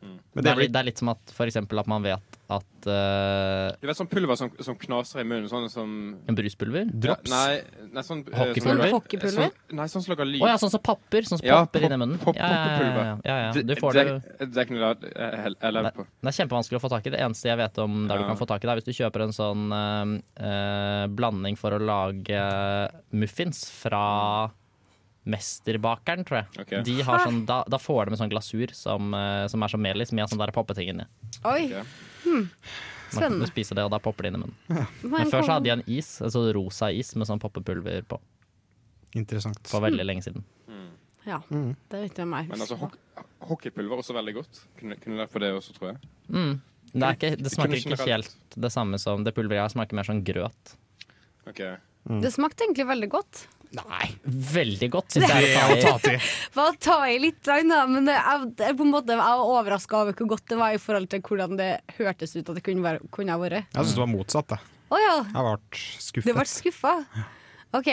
[SPEAKER 2] Men
[SPEAKER 10] Det
[SPEAKER 2] det
[SPEAKER 10] er,
[SPEAKER 2] er
[SPEAKER 10] litt,
[SPEAKER 2] vel
[SPEAKER 10] det er litt som at for eksempel at man vet at eh,
[SPEAKER 6] Du vet sånn pulver som, som knaser i munnen? Sånn som
[SPEAKER 10] en bruspulver
[SPEAKER 2] drops?
[SPEAKER 6] Ja, nei, nei, sånn eh,
[SPEAKER 10] Hockeypulver?
[SPEAKER 6] sånn-
[SPEAKER 1] Hockeypulver?
[SPEAKER 6] Sånn, nei, sånn som lager lyd.
[SPEAKER 10] Å ja, sånn som papper. Sånn som
[SPEAKER 6] Ja,
[SPEAKER 10] papper
[SPEAKER 6] pop-
[SPEAKER 10] inni munnen.
[SPEAKER 6] pop-
[SPEAKER 10] ja, ja, ja,
[SPEAKER 6] poppepulver.
[SPEAKER 10] ja, ja. Du
[SPEAKER 6] Det-
[SPEAKER 10] får det,
[SPEAKER 6] det, det, er ikke noe jeg- jeg eh, jeg lever på.
[SPEAKER 10] det er kjempevanskelig å få tak i. Det eneste jeg vet om der
[SPEAKER 6] Ja.
[SPEAKER 10] du kan få tak i det, er hvis du kjøper en sånn eh, eh, blanding for å lage eh, muffins fra Mesterbakeren, tror jeg.
[SPEAKER 6] Ok.
[SPEAKER 10] De har sånn, da, da får de en sånn glasur som, eh, som er som melis, med sånn der poppeting inni.
[SPEAKER 1] Oi,
[SPEAKER 6] Ok.
[SPEAKER 10] Man kan
[SPEAKER 1] Spennende.
[SPEAKER 10] du spiser det, og da popper det inn i munnen.
[SPEAKER 1] men
[SPEAKER 10] Men før så
[SPEAKER 1] kom-
[SPEAKER 10] hadde de en is, en sånn rosa is med sånn poppepulver på.
[SPEAKER 2] Interessant.
[SPEAKER 10] For veldig lenge siden.
[SPEAKER 1] Ja,
[SPEAKER 2] Mm.
[SPEAKER 1] det vet jeg meg.
[SPEAKER 6] Men altså, hoc- hockeypulver er også veldig godt. Kunne, kunne lært på det også, tror jeg.
[SPEAKER 10] Mm. Det, er ikke, det
[SPEAKER 6] Kunne
[SPEAKER 10] smaker ikke
[SPEAKER 6] generelt.
[SPEAKER 10] helt det samme som det pulveret her, smaker mer sånn grøt.
[SPEAKER 6] Ok.
[SPEAKER 1] Det smakte egentlig veldig godt.
[SPEAKER 10] Nei, veldig godt,
[SPEAKER 2] Det
[SPEAKER 10] syns jeg.
[SPEAKER 2] er å
[SPEAKER 10] det
[SPEAKER 2] ta
[SPEAKER 10] tar i.
[SPEAKER 2] til.
[SPEAKER 1] Bare ta i litt, da, men det, jeg, det, er på en måte, jeg var overraska over hvor godt det var i forhold til hvordan det hørtes ut at det kunne, være, kunne ha vært.
[SPEAKER 2] Jeg syns det var motsatt. Jeg,
[SPEAKER 1] Å ja,
[SPEAKER 2] jeg ble
[SPEAKER 1] du ble
[SPEAKER 2] skuffet.
[SPEAKER 1] skuffa? OK.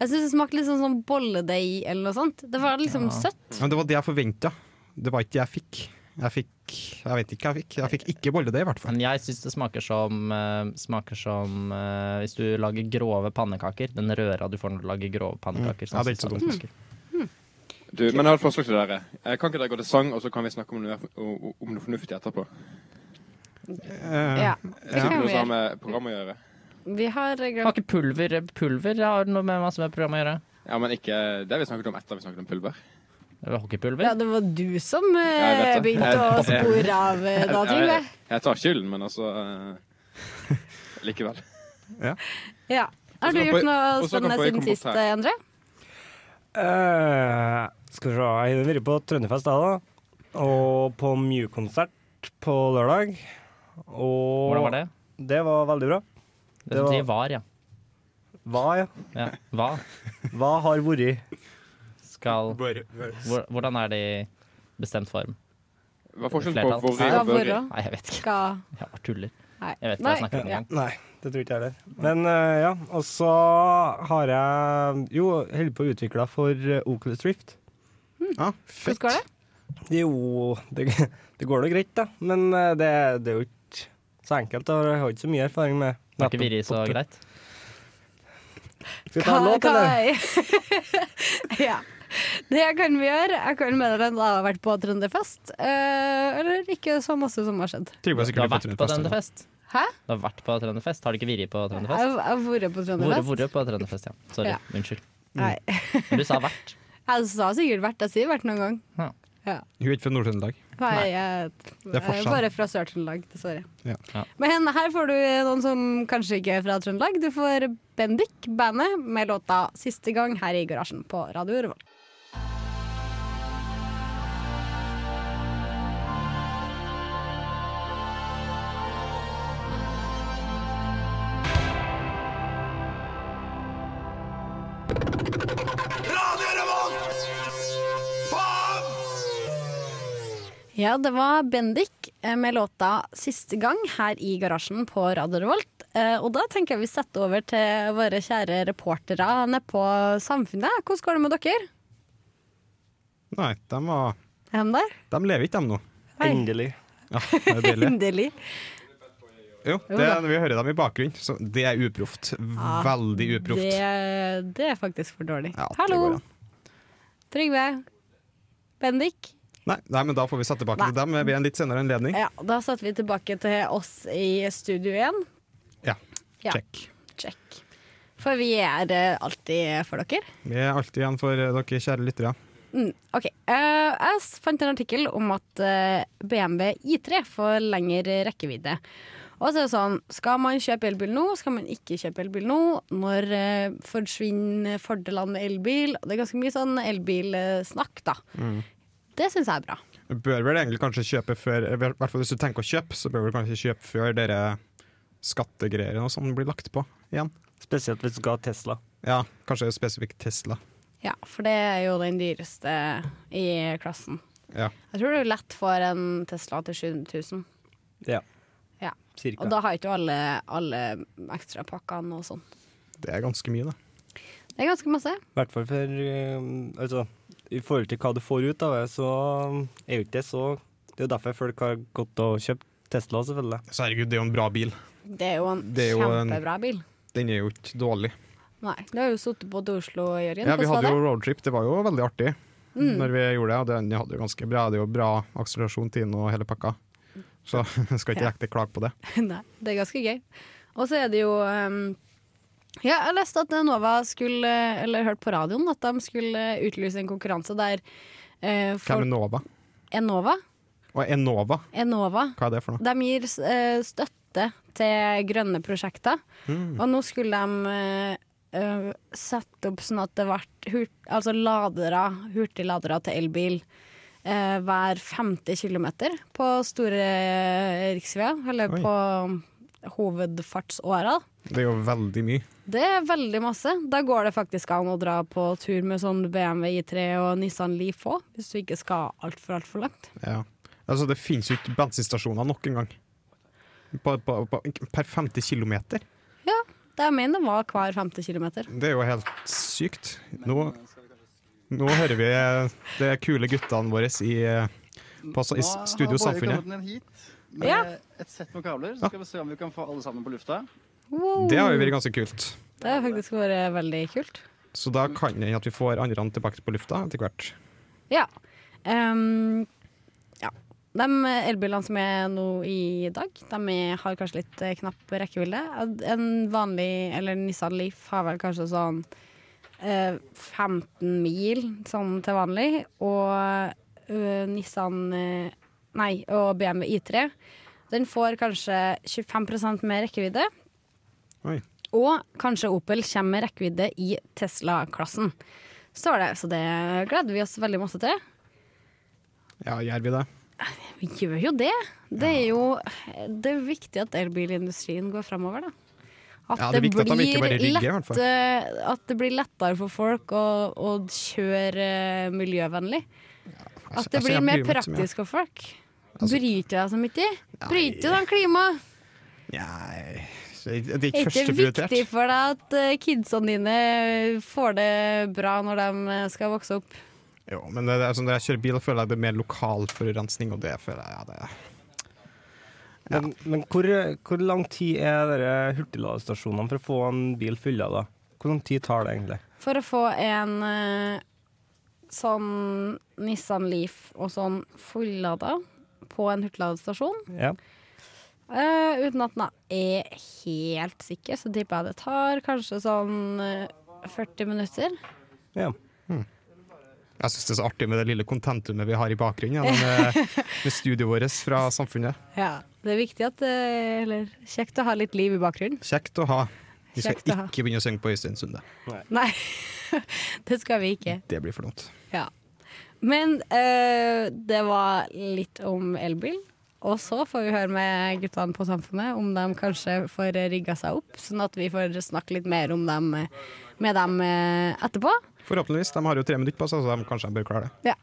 [SPEAKER 1] Jeg syns det smakte litt sånn som bolledeig eller noe sånt. Det var liksom søtt.
[SPEAKER 2] Men det var det jeg forventa. Det var ikke det jeg fikk. Jeg fikk Jeg vet ikke hva jeg fikk. Jeg fikk ikke bolledeig, i hvert fall.
[SPEAKER 10] Men jeg syns det smaker som, eh, smaker som eh, hvis du lager grove pannekaker. Den røra du får når du lager grove pannekaker.
[SPEAKER 2] Mm. Ja, det er ikke så dumt.
[SPEAKER 10] smaker.
[SPEAKER 6] Du, men jeg har et forslag til dere. Eh, Kan ikke dere gå til sang, og så kan vi snakke om noe, o- o- om noe fornuftig etterpå?
[SPEAKER 2] Eh,
[SPEAKER 1] Ja.
[SPEAKER 6] Hvis ikke
[SPEAKER 1] kan vi
[SPEAKER 6] noe som har
[SPEAKER 1] gjøre.
[SPEAKER 6] med program å gjøre.
[SPEAKER 1] Vi har
[SPEAKER 10] Har
[SPEAKER 1] glemt
[SPEAKER 10] ikke pulver eh, Pulver har noe med masse med programmet å gjøre.
[SPEAKER 6] Ja, men ikke eh, det vi snakket om etter vi snakket om pulver.
[SPEAKER 10] Hockeypulver?
[SPEAKER 1] Ja, det var du som
[SPEAKER 6] jeg
[SPEAKER 1] eh,
[SPEAKER 6] vet det.
[SPEAKER 1] begynte å
[SPEAKER 6] Jeg-
[SPEAKER 1] spore av eh, da, Trygve.
[SPEAKER 6] jeg, jeg tar skylden, men altså eh, Likevel.
[SPEAKER 1] Ja. Har
[SPEAKER 6] Og så
[SPEAKER 1] du
[SPEAKER 6] kan
[SPEAKER 1] gjort
[SPEAKER 6] på-
[SPEAKER 1] noe
[SPEAKER 6] og så kan
[SPEAKER 1] spennende
[SPEAKER 6] på- jeg
[SPEAKER 1] siden
[SPEAKER 6] komme
[SPEAKER 1] sist,
[SPEAKER 6] opp her.
[SPEAKER 1] eh, Endre?
[SPEAKER 3] Eh, skal vi se, jeg har vært på Trønderfest da, da. Og på Mew-konsert på lørdag. Og
[SPEAKER 10] Hvordan var det?
[SPEAKER 3] Det var veldig bra.
[SPEAKER 10] Det,
[SPEAKER 3] det var-
[SPEAKER 10] De var, ja.
[SPEAKER 3] Hva, ja.
[SPEAKER 10] ja. Hva
[SPEAKER 3] Hva har vært?
[SPEAKER 10] skal hvor- Hvordan er det i bestemt form?
[SPEAKER 6] Hva er forskjellen på
[SPEAKER 10] Flertall.
[SPEAKER 6] vorri
[SPEAKER 1] Hva
[SPEAKER 6] og børri?
[SPEAKER 1] var
[SPEAKER 10] Nei, jeg vet ikke.
[SPEAKER 1] Skal
[SPEAKER 10] Jeg bare tuller.
[SPEAKER 1] Nei.
[SPEAKER 10] Jeg vet ikke hva
[SPEAKER 1] Nei.
[SPEAKER 10] jeg snakker om.
[SPEAKER 1] Ja.
[SPEAKER 10] engang.
[SPEAKER 3] Nei, det tror ikke jeg heller. Men eh, ja, og så har jeg jo holder på å utvikle for eh, Oculus Rift.
[SPEAKER 2] Ja,
[SPEAKER 1] Hvordan
[SPEAKER 2] fett.
[SPEAKER 1] går Mm. det?
[SPEAKER 3] Jo, det, det går nå greit, da. Men eh, det, det er jo ikke så enkelt. og Jeg har ikke så mye erfaring med
[SPEAKER 10] Var ikke Viri så greit?
[SPEAKER 3] Skal vi ta en låt, eller?
[SPEAKER 1] ja. Det kan vi gjøre. Jeg kan meddele at jeg har vært på Trønderfest. eh, eller ikke så masse som har skjedd.
[SPEAKER 2] Trygve har
[SPEAKER 10] Du har
[SPEAKER 2] sikkert
[SPEAKER 10] vært
[SPEAKER 2] litt
[SPEAKER 10] på
[SPEAKER 2] fortrengt fest.
[SPEAKER 10] Trønderfest?
[SPEAKER 1] Hæ?
[SPEAKER 10] Du har vært på Trønderfest? Har du ikke Viri på
[SPEAKER 1] Jeg jeg
[SPEAKER 10] Trønderfest?
[SPEAKER 1] har vært på
[SPEAKER 10] Hvor,
[SPEAKER 1] Trønderfest.
[SPEAKER 10] hvor på Trønderfest, ja. Sorry.
[SPEAKER 1] Ja.
[SPEAKER 10] Unnskyld.
[SPEAKER 1] Nei.
[SPEAKER 10] Men du sa vært.
[SPEAKER 1] Jeg har sikkert vært Jeg sier vært noen gang. Ja.
[SPEAKER 10] Ja.
[SPEAKER 2] Hun er ikke fra Nord-Trøndelag.
[SPEAKER 1] Nei, jeg,
[SPEAKER 2] Det
[SPEAKER 1] jeg
[SPEAKER 2] er
[SPEAKER 1] er
[SPEAKER 2] forskjell.
[SPEAKER 1] bare fra Sør-Trøndelag, dessverre.
[SPEAKER 2] Ja.
[SPEAKER 10] Ja.
[SPEAKER 1] Men her får du noen som kanskje ikke er fra Trøndelag. Du får Bendik, bandet, med låta 'Siste gang' her i garasjen på Radio Revolt. Ja, det var Bendik eh, med låta 'Siste gang' her i garasjen på Radio Revolt. Eh, Og da tenker jeg vi setter over til våre kjære reportere nede på Samfunnet. Hvordan går det med dere?
[SPEAKER 2] Nei, de, var,
[SPEAKER 1] Er de der?
[SPEAKER 2] de lever ikke, de nå.
[SPEAKER 1] Hei.
[SPEAKER 3] Endelig.
[SPEAKER 2] Ja, det er deilig.
[SPEAKER 1] Endelig.
[SPEAKER 2] Jo, det, vi hører dem i bakgrunnen, så det er uproft. Veldig uproft.
[SPEAKER 1] Det, det er faktisk for dårlig.
[SPEAKER 2] Ja, det går
[SPEAKER 1] Hallo,
[SPEAKER 2] an.
[SPEAKER 1] Trygve. Bendik.
[SPEAKER 2] Nei, nei, men da får vi sette tilbake til dem ved en litt senere anledning.
[SPEAKER 1] Ja, da setter vi tilbake til oss i studio igjen.
[SPEAKER 2] Ja,
[SPEAKER 1] Ja.
[SPEAKER 2] check.
[SPEAKER 1] Check. For vi er eh, alltid for dere.
[SPEAKER 2] Vi er alltid igjen for eh, dere kjære lyttere.
[SPEAKER 1] Mm, ok, Eh, Jeg s- fant en artikkel om at eh, BMW I3 får lengre rekkevidde. Og så er det sånn, Skal man kjøpe elbil nå, skal man ikke kjøpe elbil nå? Når eh, forsvinner fordelene med elbil? Det er ganske mye sånn elbilsnakk, da.
[SPEAKER 2] Mm.
[SPEAKER 1] Det syns jeg er bra.
[SPEAKER 2] Du bør vel egentlig kanskje kjøpe før I hvert fall hvis du tenker å kjøpe, så bør du kanskje kjøpe før dere skattegreiene og sånn blir lagt på igjen.
[SPEAKER 3] Spesielt hvis du skal ha Tesla.
[SPEAKER 2] Ja, kanskje spesifikt Tesla.
[SPEAKER 1] Ja, For det er jo den dyreste i klassen.
[SPEAKER 2] Ja.
[SPEAKER 1] Jeg tror du lett får en Tesla til 7000.
[SPEAKER 3] Ja.
[SPEAKER 1] Ja.
[SPEAKER 3] Cirka.
[SPEAKER 1] Og da har ikke du alle, alle ekstrapakkene og sånn.
[SPEAKER 2] Det er ganske mye, da.
[SPEAKER 1] Det er ganske masse.
[SPEAKER 3] I hvert fall for eh, Altså, i forhold til hva du får ut av det, så er jo ikke det så Det er jo derfor folk har gått og kjøpt Tesla, selvfølgelig.
[SPEAKER 2] Så herregud, det er jo en bra bil.
[SPEAKER 1] Det er jo en
[SPEAKER 2] Det er jo en-
[SPEAKER 1] kjempebra bil.
[SPEAKER 2] Den er jo ikke dårlig.
[SPEAKER 1] Nei, Du har jo sittet på til Oslo, Jørgen.
[SPEAKER 2] Ja, vi
[SPEAKER 1] Hvordan var
[SPEAKER 2] hadde jo
[SPEAKER 1] det?
[SPEAKER 2] roadtrip, det var jo veldig artig når vi gjorde det. Og den hadde jo ganske bra, det er jo bra akselerasjon til den og hele pakka. Så jeg skal ikke
[SPEAKER 1] Ja.
[SPEAKER 2] riktig klage på det.
[SPEAKER 1] Nei, det er ganske gøy. Og så er det jo ehm, Ja, jeg leste at Nova skulle eh, Eller hørt på radioen at de skulle eh, utlyse en konkurranse der eh,
[SPEAKER 2] Hvem
[SPEAKER 1] for
[SPEAKER 2] er Nova?
[SPEAKER 1] Enova,
[SPEAKER 2] Og Enova,
[SPEAKER 1] Enova
[SPEAKER 2] hva er det for noe?
[SPEAKER 1] De gir eh, støtte til grønne prosjekter. Og nå skulle de eh, eh, sette opp sånn at det ble hurt, altså ladere, hurtigladere til elbil eh, hver 50 km på store eh, riksveier, eller
[SPEAKER 2] Oi.
[SPEAKER 1] på hovedfartsåra.
[SPEAKER 2] Det er jo veldig mye.
[SPEAKER 1] Det er veldig masse. Da går det faktisk an å dra på tur med sånn BMW I3 og Nissan Leaf òg, hvis du ikke skal altfor, altfor langt.
[SPEAKER 2] Ja. Altså, det finnes jo ikke bensinstasjoner nok en gang. På, på, på, per 50 km.
[SPEAKER 1] Ja, det jeg mener var hver 50 km.
[SPEAKER 2] Det er jo helt sykt. Nå, nå hører vi de kule guttene våre i, eh, på, i Studio
[SPEAKER 7] Nå har Bård
[SPEAKER 2] Samfunnet.
[SPEAKER 7] kommet ned hit med
[SPEAKER 1] Ja.
[SPEAKER 7] et sett med kabler. Så skal vi se om vi kan få alle sammen på lufta.
[SPEAKER 1] Wow.
[SPEAKER 2] Det har jo vært ganske kult.
[SPEAKER 1] Det har faktisk vært veldig kult.
[SPEAKER 2] Så da kan det hende at vi får andre tilbake på lufta etter hvert.
[SPEAKER 1] Ja. Ehm, ja. De elbilene som er nå i dag, de er, har kanskje litt eh, knapp rekkevilde. En vanlig, eller Nissan Leaf har vel kanskje sånn eh, 15 mil sånn til vanlig, og eh, Nissan eh, Nei, og BMW I3. Den får kanskje 25 mer rekkevidde.
[SPEAKER 2] Oi.
[SPEAKER 1] Og kanskje Opel kommer med rekkevidde i Tesla-klassen. Står det, så det gleder vi oss veldig masse til.
[SPEAKER 2] Ja, gjør vi det?
[SPEAKER 1] Vi gjør jo det. Det er jo det er viktig at elbilindustrien går framover, da. At
[SPEAKER 2] Ja, det er viktig at de ikke bare rygger, i
[SPEAKER 1] lett-
[SPEAKER 2] hvert fall.
[SPEAKER 1] eh, at det blir lettere for folk å, å kjøre eh, miljøvennlig. At det
[SPEAKER 2] Altså, jeg
[SPEAKER 1] blir
[SPEAKER 2] ser-
[SPEAKER 1] mer
[SPEAKER 2] jeg bryr meg ikke så mye. Altså,
[SPEAKER 1] praktisk for folk. Bryter jeg så mye? Bryter du den klimaet?
[SPEAKER 2] Nei Det er ikke
[SPEAKER 1] Er det
[SPEAKER 2] førsteprioritert.
[SPEAKER 1] viktig for deg at eh, kidsene dine får det bra når de eh, skal vokse opp?
[SPEAKER 2] Jo, men det, det er sånn, når jeg kjører bil, føler jeg det er mer lokal forurensning, og det føler jeg ja, det er.
[SPEAKER 3] Men, men hvor, hvor lang tid er dere hurtigladestasjonene for å få en bil fylla, da? Hvor lang tid tar det egentlig?
[SPEAKER 1] For å få en eh, sånn Nissan Leaf og sånn fullada på en hurtigladestasjon,
[SPEAKER 3] Ja.
[SPEAKER 1] eh, uten at den er helt sikker, så tipper jeg det tar kanskje sånn eh, 40 minutter.
[SPEAKER 3] ja.
[SPEAKER 2] Jeg syns det er så artig med det lille kontentumet vi har i bakgrunnen gjennom eh, med studioet vårt fra Samfunnet.
[SPEAKER 1] Ja, Det er viktig at eh, Eller kjekt å ha litt liv i bakgrunnen.
[SPEAKER 2] Kjekt å ha. Vi skal
[SPEAKER 1] Kjekt å ha.
[SPEAKER 2] ikke begynne å synge på Øystein Sunde.
[SPEAKER 1] Nei, det skal vi ikke.
[SPEAKER 2] Det blir for dumt.
[SPEAKER 1] Ja. Men eh, det var litt om elbil. Og så får vi høre med guttene på Samfunnet om de kanskje får rigga seg opp, sånn at vi får snakke litt mer om de med dem eh, etterpå.
[SPEAKER 2] Forhåpentligvis. De har jo tre minutter på seg, så de kanskje de bør klare det.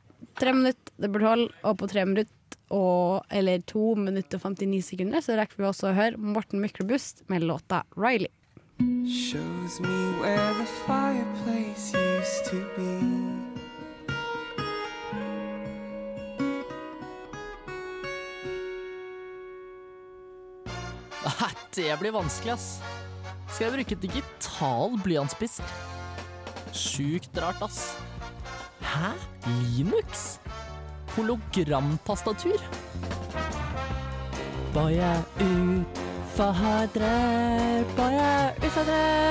[SPEAKER 1] Tre minutter, det burde holde, og på tre minutter og, eller to minutter og 59 sekunder så rekker vi også å høre Morten Myklebust med låta 'Riley'.
[SPEAKER 10] Nei, det blir vanskelig, ass. Skal jeg bruke digital blyantspiss? Sjukt rart, ass. Hæ? Linux? Hologramtastatur? Bare utfordrer, bare utfordrer.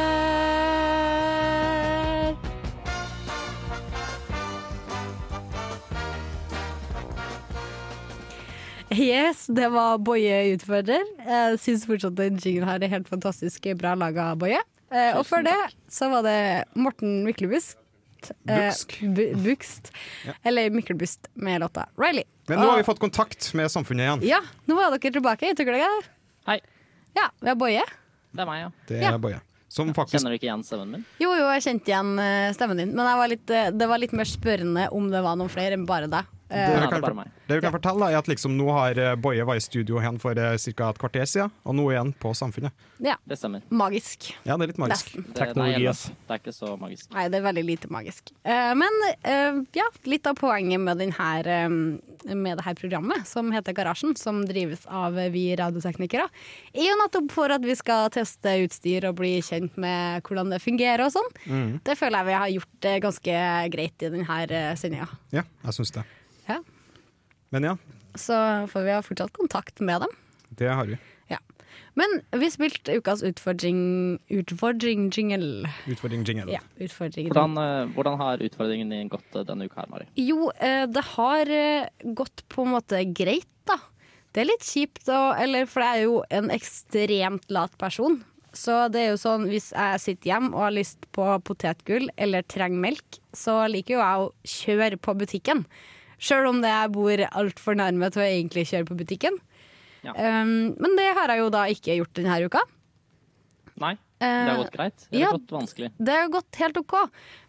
[SPEAKER 1] Yes, det var Boje utfordrer. Jeg syns fortsatt den jinglen her er helt fantastisk bra laga, Boje. Eh, og før det så var det Morten Myklebust. eh,
[SPEAKER 2] Buksk.
[SPEAKER 1] bu Bukst. Eller Myklebust med låta 'Riley'.
[SPEAKER 2] Men nå har vi fått kontakt med samfunnet igjen.
[SPEAKER 1] Ja, nå er dere tilbake. Jeg tror dere
[SPEAKER 10] Hei.
[SPEAKER 1] Ja, vi har Boje.
[SPEAKER 10] Det er meg, ja.
[SPEAKER 2] Det
[SPEAKER 1] Ja.
[SPEAKER 2] er Boje. Som faktisk
[SPEAKER 10] Kjenner du ikke igjen stemmen min?
[SPEAKER 1] Jo, jo, jeg kjente igjen eh, stemmen din, men jeg var litt, eh, det var litt mer spørrende om det var noen flere enn bare deg. Eh,
[SPEAKER 10] Nei,
[SPEAKER 2] det
[SPEAKER 10] det
[SPEAKER 2] kan
[SPEAKER 10] er
[SPEAKER 2] jeg
[SPEAKER 10] bare
[SPEAKER 2] for-
[SPEAKER 10] meg.
[SPEAKER 2] Det vi kan fortelle, da, er at liksom nå har eh, Boje vært i studio igjen for ca. et kvarter siden, og nå er han på Samfunnet.
[SPEAKER 1] ja,
[SPEAKER 10] Det stemmer.
[SPEAKER 1] magisk.
[SPEAKER 2] Ja, det er litt magisk.
[SPEAKER 1] Nesten.
[SPEAKER 10] Det,
[SPEAKER 3] Teknologi,
[SPEAKER 10] nei, jeg-
[SPEAKER 3] ass.
[SPEAKER 10] Det er ikke så magisk.
[SPEAKER 1] Nei, det er veldig lite magisk. Eh, men eh, ja, litt av poenget med, den her, eh, med det her programmet, som heter Garasjen, som drives av eh, vi radioteknikere, er jo nettopp for at vi skal teste utstyr og bli kjent med hvordan det fungerer og sånn. Det føler jeg vi har gjort eh, ganske greit i eh, denne sendinga.
[SPEAKER 2] Ja, jeg syns det.
[SPEAKER 1] Ja.
[SPEAKER 2] Men ja,
[SPEAKER 1] Så får vi ha fortsatt kontakt med dem.
[SPEAKER 2] det har vi.
[SPEAKER 1] Ja. Men vi spilte ukas utfordring Utfordring jingle.
[SPEAKER 2] Utfordring jingle.
[SPEAKER 1] Ja, utfordring.
[SPEAKER 10] Hvordan, eh, hvordan har utfordringen din gått eh, denne uka her, Mari?
[SPEAKER 1] Jo, eh, det har eh, gått på en måte greit, da. Det er litt kjipt, og, eller, for jeg er jo en ekstremt lat person. Så det er jo sånn, hvis jeg sitter hjemme og har lyst på potetgull eller trenger melk, så liker jo jeg å kjøre på butikken. Sjøl om det jeg bor altfor nærme til å egentlig kjøre på butikken.
[SPEAKER 10] Ja.
[SPEAKER 1] Um, men det har jeg jo da ikke gjort denne uka.
[SPEAKER 10] Nei, det har
[SPEAKER 1] Eh,
[SPEAKER 10] gått greit. Det
[SPEAKER 1] ja.
[SPEAKER 10] har gått vanskelig.
[SPEAKER 1] Det har gått helt OK.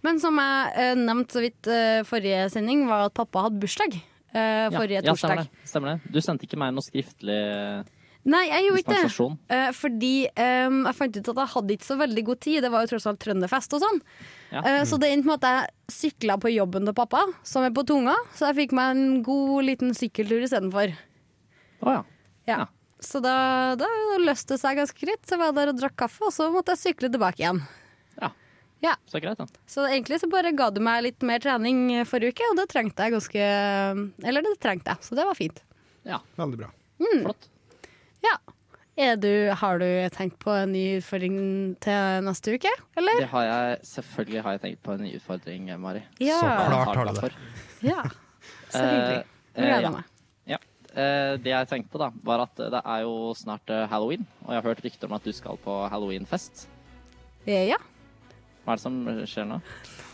[SPEAKER 1] Men som jeg eh, nevnte så vidt eh, forrige sending, var at pappa hadde bursdag. eh, forrige
[SPEAKER 10] ja,
[SPEAKER 1] torsdag.
[SPEAKER 10] Stemmer det. stemmer det. Du sendte ikke meg noe skriftlig eh,
[SPEAKER 1] Nei, jeg gjorde ikke det.
[SPEAKER 10] dispensasjon.
[SPEAKER 1] Eh, fordi eh, jeg fant ut at jeg hadde ikke så veldig god tid. Det var jo tross alt trønderfest og sånn.
[SPEAKER 10] Ja.
[SPEAKER 1] Eh, så det endte med at jeg sykla på jobben til pappa, som er på tunga. Så jeg fikk meg en god liten sykkeltur istedenfor.
[SPEAKER 10] Å ja.
[SPEAKER 1] Ja.
[SPEAKER 10] Ja.
[SPEAKER 1] Så da, da løste det seg ganske greit. Så jeg var der og drakk kaffe, og så måtte jeg sykle tilbake igjen.
[SPEAKER 10] ja.
[SPEAKER 1] Ja.
[SPEAKER 10] Så greit, da.
[SPEAKER 1] Så egentlig så bare ga du meg litt mer trening eh, forrige uke, og det trengte jeg ganske Eller det trengte jeg, så det var fint.
[SPEAKER 10] Ja,
[SPEAKER 2] Veldig bra.
[SPEAKER 1] Mm.
[SPEAKER 10] flott.
[SPEAKER 1] Ja. Er du, har du tenkt på en ny utfordring til neste uke, eller?
[SPEAKER 10] Det har jeg, selvfølgelig har jeg tenkt på en ny utfordring, eh, Mari.
[SPEAKER 1] Ja.
[SPEAKER 10] Som jeg
[SPEAKER 2] Klart
[SPEAKER 10] har
[SPEAKER 2] har
[SPEAKER 10] klart
[SPEAKER 2] du
[SPEAKER 10] for.
[SPEAKER 2] det.
[SPEAKER 1] Ja. Så hyggelig.
[SPEAKER 10] Eh, eh, ja.
[SPEAKER 1] Gleder meg.
[SPEAKER 10] Ja. Eh, Det jeg tenkte, da, var at eh, det er jo snart eh, halloween, og jeg har hørt rykter om at du skal på halloweenfest.
[SPEAKER 1] Eh, Ja.
[SPEAKER 10] Hva er det som skjer nå?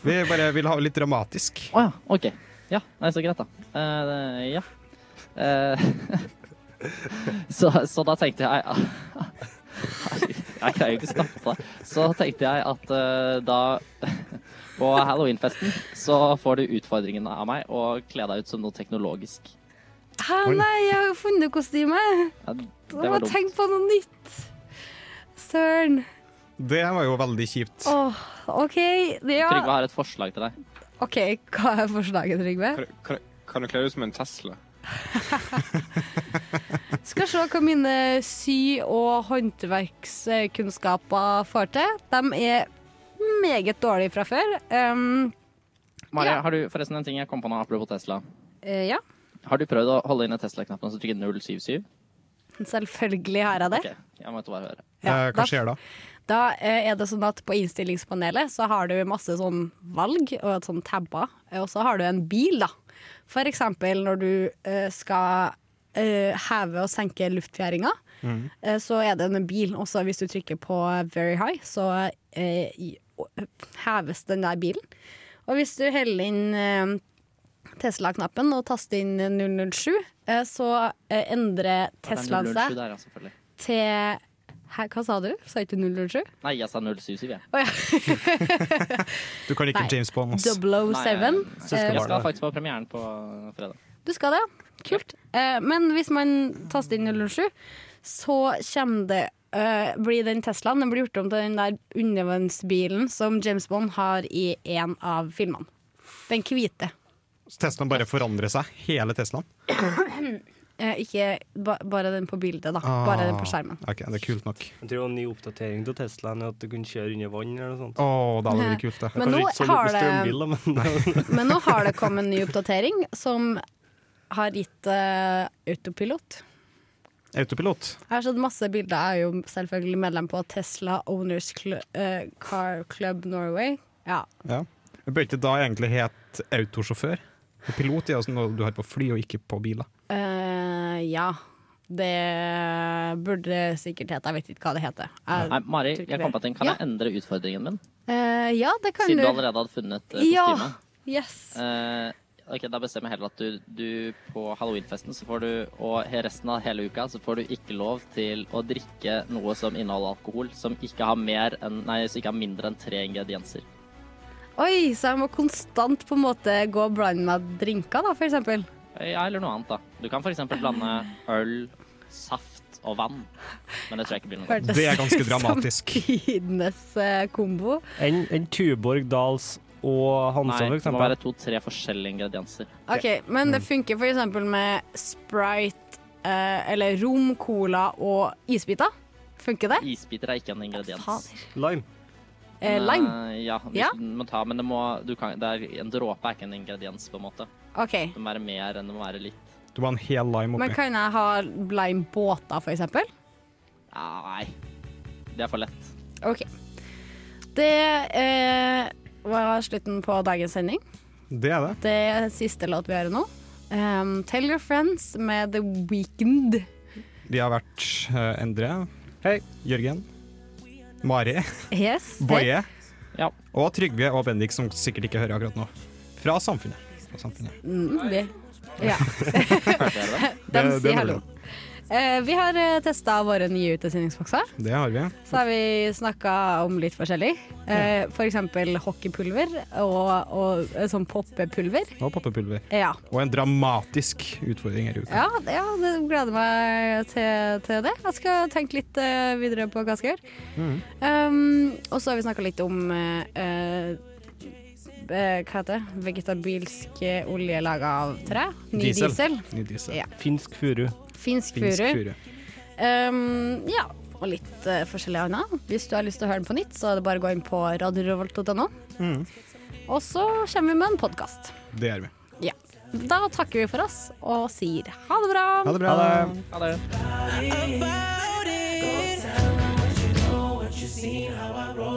[SPEAKER 2] Vi bare vil ha det litt dramatisk.
[SPEAKER 10] Å ja, OK. Ja, nei, så greit, da. Eh, det- ja. Eh, så, så da tenkte jeg Jeg greier jo ikke å snakke. Så tenkte jeg at eh, da På halloweenfesten så får du utfordringen av meg å kle deg ut som noe teknologisk.
[SPEAKER 1] Hæ,
[SPEAKER 2] Oi.
[SPEAKER 1] nei, jeg har jo funnet kostyme!
[SPEAKER 10] Ja, det
[SPEAKER 1] Jeg må
[SPEAKER 10] var dumt.
[SPEAKER 1] tenke på noe nytt. Søren.
[SPEAKER 2] Det var jo veldig kjipt.
[SPEAKER 1] Åh, OK. Ja.
[SPEAKER 10] Trygve har et forslag til deg.
[SPEAKER 1] OK, hva er forslaget, Trygve?
[SPEAKER 6] Kan, kan, kan du kle deg ut som en Tesla?
[SPEAKER 1] Skal se hva mine sy- og håndverkskunnskaper får til. De er meget dårlige fra før. Um,
[SPEAKER 10] Maria,
[SPEAKER 1] Ja.
[SPEAKER 10] har du forresten en ting jeg kom på nå, apropos Tesla.
[SPEAKER 1] eh, ja,
[SPEAKER 10] Har du prøvd å holde inne Tesla-knappen og så trykke 077?
[SPEAKER 1] selvfølgelig har jeg det.
[SPEAKER 10] Ok, jeg måtte bare høre.
[SPEAKER 1] Ja,
[SPEAKER 2] Eh,
[SPEAKER 1] da-
[SPEAKER 2] Hva skjer da?
[SPEAKER 1] Da eh, er det sånn at på innstillingspanelet så har du masse sånn valg og et sånn tabber, og så har du en bil, da. For eksempel når du eh, skal eh, heve og senke luftfjæringa, eh, så er det en bil. Og så hvis du trykker på very high, så eh, i- heves den der bilen. Og hvis du heller inn eh, Tesla-knappen og taster inn 007, eh, så eh, endrer
[SPEAKER 10] Det er
[SPEAKER 1] Teslaen
[SPEAKER 10] 007
[SPEAKER 1] seg
[SPEAKER 10] Der, ja, selvfølgelig.
[SPEAKER 1] til Hæ, hva sa du? Sa ikke du 007?
[SPEAKER 10] Nei, jeg sa 077, jeg.
[SPEAKER 1] Å ja.
[SPEAKER 2] Du kan ikke
[SPEAKER 1] Nei.
[SPEAKER 2] James Bond. ass.
[SPEAKER 1] 007.
[SPEAKER 10] Nei,
[SPEAKER 2] Søskenbarn.
[SPEAKER 10] Jeg skal faktisk på premieren på fredag.
[SPEAKER 1] Du skal det, ja. Kult. Eh, men hvis man taster inn 007, så kommer det eh, blir den Teslaen den blir gjort om til den der undervannsbilen som James Bond har i en av filmene. Den hvite.
[SPEAKER 2] Så Teslaen bare forandrer seg. Hele Teslaen.
[SPEAKER 1] Eh, ikke ba bare den på bildet, da.
[SPEAKER 2] Ah.
[SPEAKER 1] Bare den på skjermen.
[SPEAKER 2] Ok, Det er kult nok.
[SPEAKER 3] Jeg tror det var en ny oppdatering til Teslaen at du kunne kjøre under vann eller noe sånt.
[SPEAKER 2] Å, da hadde det vært kult, det.
[SPEAKER 1] Men
[SPEAKER 3] Kanskje
[SPEAKER 1] nå
[SPEAKER 3] ikke så
[SPEAKER 1] har
[SPEAKER 3] lurt
[SPEAKER 1] det-
[SPEAKER 3] med strømbil, da, men
[SPEAKER 1] Men nå har det kommet en ny oppdatering som har gitt eh, autopilot.
[SPEAKER 2] Autopilot.
[SPEAKER 1] Jeg har sett masse bilder. Jeg er jo selvfølgelig medlem på Tesla Owners Cl eh, Car Club Norway. Ja.
[SPEAKER 2] Ja. Men Bør ikke da egentlig het autosjåfør? For Pilot er jo sånn noe du har på fly, og ikke på biler.
[SPEAKER 1] Eh, ja. Det burde det sikkert hete. Jeg vet ikke hva det heter. Jeg-
[SPEAKER 10] Nei, Mari, jeg kom på ting. Kan
[SPEAKER 1] Ja.
[SPEAKER 10] jeg endre utfordringen min?
[SPEAKER 1] Eh, ja, det kan
[SPEAKER 10] Siden du
[SPEAKER 1] du.
[SPEAKER 10] allerede hadde funnet eh,
[SPEAKER 1] Ja.
[SPEAKER 10] kostyme.
[SPEAKER 1] Yes.
[SPEAKER 10] Eh, ok, Da bestemmer jeg heller at du, du på halloweenfesten så får du, og he- resten av hele uka så får du ikke lov til å drikke noe som inneholder alkohol, som ikke har, mer enn, nei, som ikke har mindre enn tre ingredienser.
[SPEAKER 1] Oi, så jeg må konstant på en måte gå og blande med drinker, da, for eksempel.
[SPEAKER 10] Eh, Ja, eller noe annet, da. Du kan f.eks. blande øl, saft og vann. Men det tror jeg ikke blir noe godt.
[SPEAKER 1] Hørtes
[SPEAKER 2] Det er ganske
[SPEAKER 1] ut som
[SPEAKER 2] dramatisk.
[SPEAKER 1] Tidenes eh, kombo.
[SPEAKER 3] en, en Tuborg, Dals og Hansa, for
[SPEAKER 10] Nei, det må være
[SPEAKER 3] eksempel.
[SPEAKER 10] to-tre forskjellige ingredienser.
[SPEAKER 1] OK, men
[SPEAKER 10] Mm.
[SPEAKER 1] det funker for eksempel med Sprite eh, eller rom, cola og isbiter. Funker det?
[SPEAKER 10] Isbiter er ikke en ingrediens.
[SPEAKER 1] Fader.
[SPEAKER 3] Lime.
[SPEAKER 1] Eh, lime.
[SPEAKER 10] Nei, Ja, hvis
[SPEAKER 1] Ja.
[SPEAKER 10] du må ta, men det må, du kan, det er, en dråpe er ikke en ingrediens, på en måte.
[SPEAKER 1] OK.
[SPEAKER 10] Det må være mer enn det må være litt.
[SPEAKER 2] Du må ha en hel lime
[SPEAKER 1] Men
[SPEAKER 2] oppi.
[SPEAKER 1] kan jeg ha limebåter, for eksempel?
[SPEAKER 10] Nei, det er for lett.
[SPEAKER 1] OK. Det eh, var slutten på dagens sending.
[SPEAKER 2] Det er det.
[SPEAKER 1] Det er siste låt vi hører nå. Um, Tell Your Friends med The Weekend.
[SPEAKER 2] Vi har vært eh, Endre.
[SPEAKER 3] Hei.
[SPEAKER 2] Jørgen. Mari.
[SPEAKER 1] Yes.
[SPEAKER 2] Boje.
[SPEAKER 10] Ja.
[SPEAKER 2] Og Trygve og Bendik, som sikkert ikke hører akkurat nå. Fra Samfunnet. Fra samfunnet.
[SPEAKER 1] Mm, det. Ja,
[SPEAKER 10] Det er det.
[SPEAKER 1] de
[SPEAKER 2] Det- det
[SPEAKER 1] sier
[SPEAKER 2] må
[SPEAKER 1] hallo. Eh, vi har uh, testa våre nye utestillingsbokser.
[SPEAKER 2] Det har vi.
[SPEAKER 1] Så har vi snakka om litt forskjellig. Uh, for eksempel hockeypulver og, og eh, sånn poppepulver.
[SPEAKER 2] Og pappapulver.
[SPEAKER 1] Ja.
[SPEAKER 2] Og en dramatisk utfordring her i uka.
[SPEAKER 1] Ja, det- ja det gleder meg til, til det. Jeg skal tenke litt eh, videre på hva jeg skal gjøre. Um, og så har vi snakka litt om eh, eh, eh, Hva heter det? Vegetabilsk olje laga av tre. Ny diesel.
[SPEAKER 2] Ny diesel.
[SPEAKER 1] Ja.
[SPEAKER 3] Finsk furu.
[SPEAKER 1] Finsk
[SPEAKER 2] Finsk
[SPEAKER 1] furu.
[SPEAKER 2] furu.
[SPEAKER 1] Um, ja, og litt eh, forskjellig annet. Hvis du har lyst til å høre den på nytt, så er det bare å gå inn på radiorevolt.no. Mhm. Og så kommer vi med en podkast.
[SPEAKER 2] Det gjør vi.
[SPEAKER 1] Ja. Da takker vi for oss og sier ha det bra.
[SPEAKER 2] Ha det bra.
[SPEAKER 10] Ja, det er det.
[SPEAKER 11] About it. Go tell 'em what you know, what you seen, how I roll.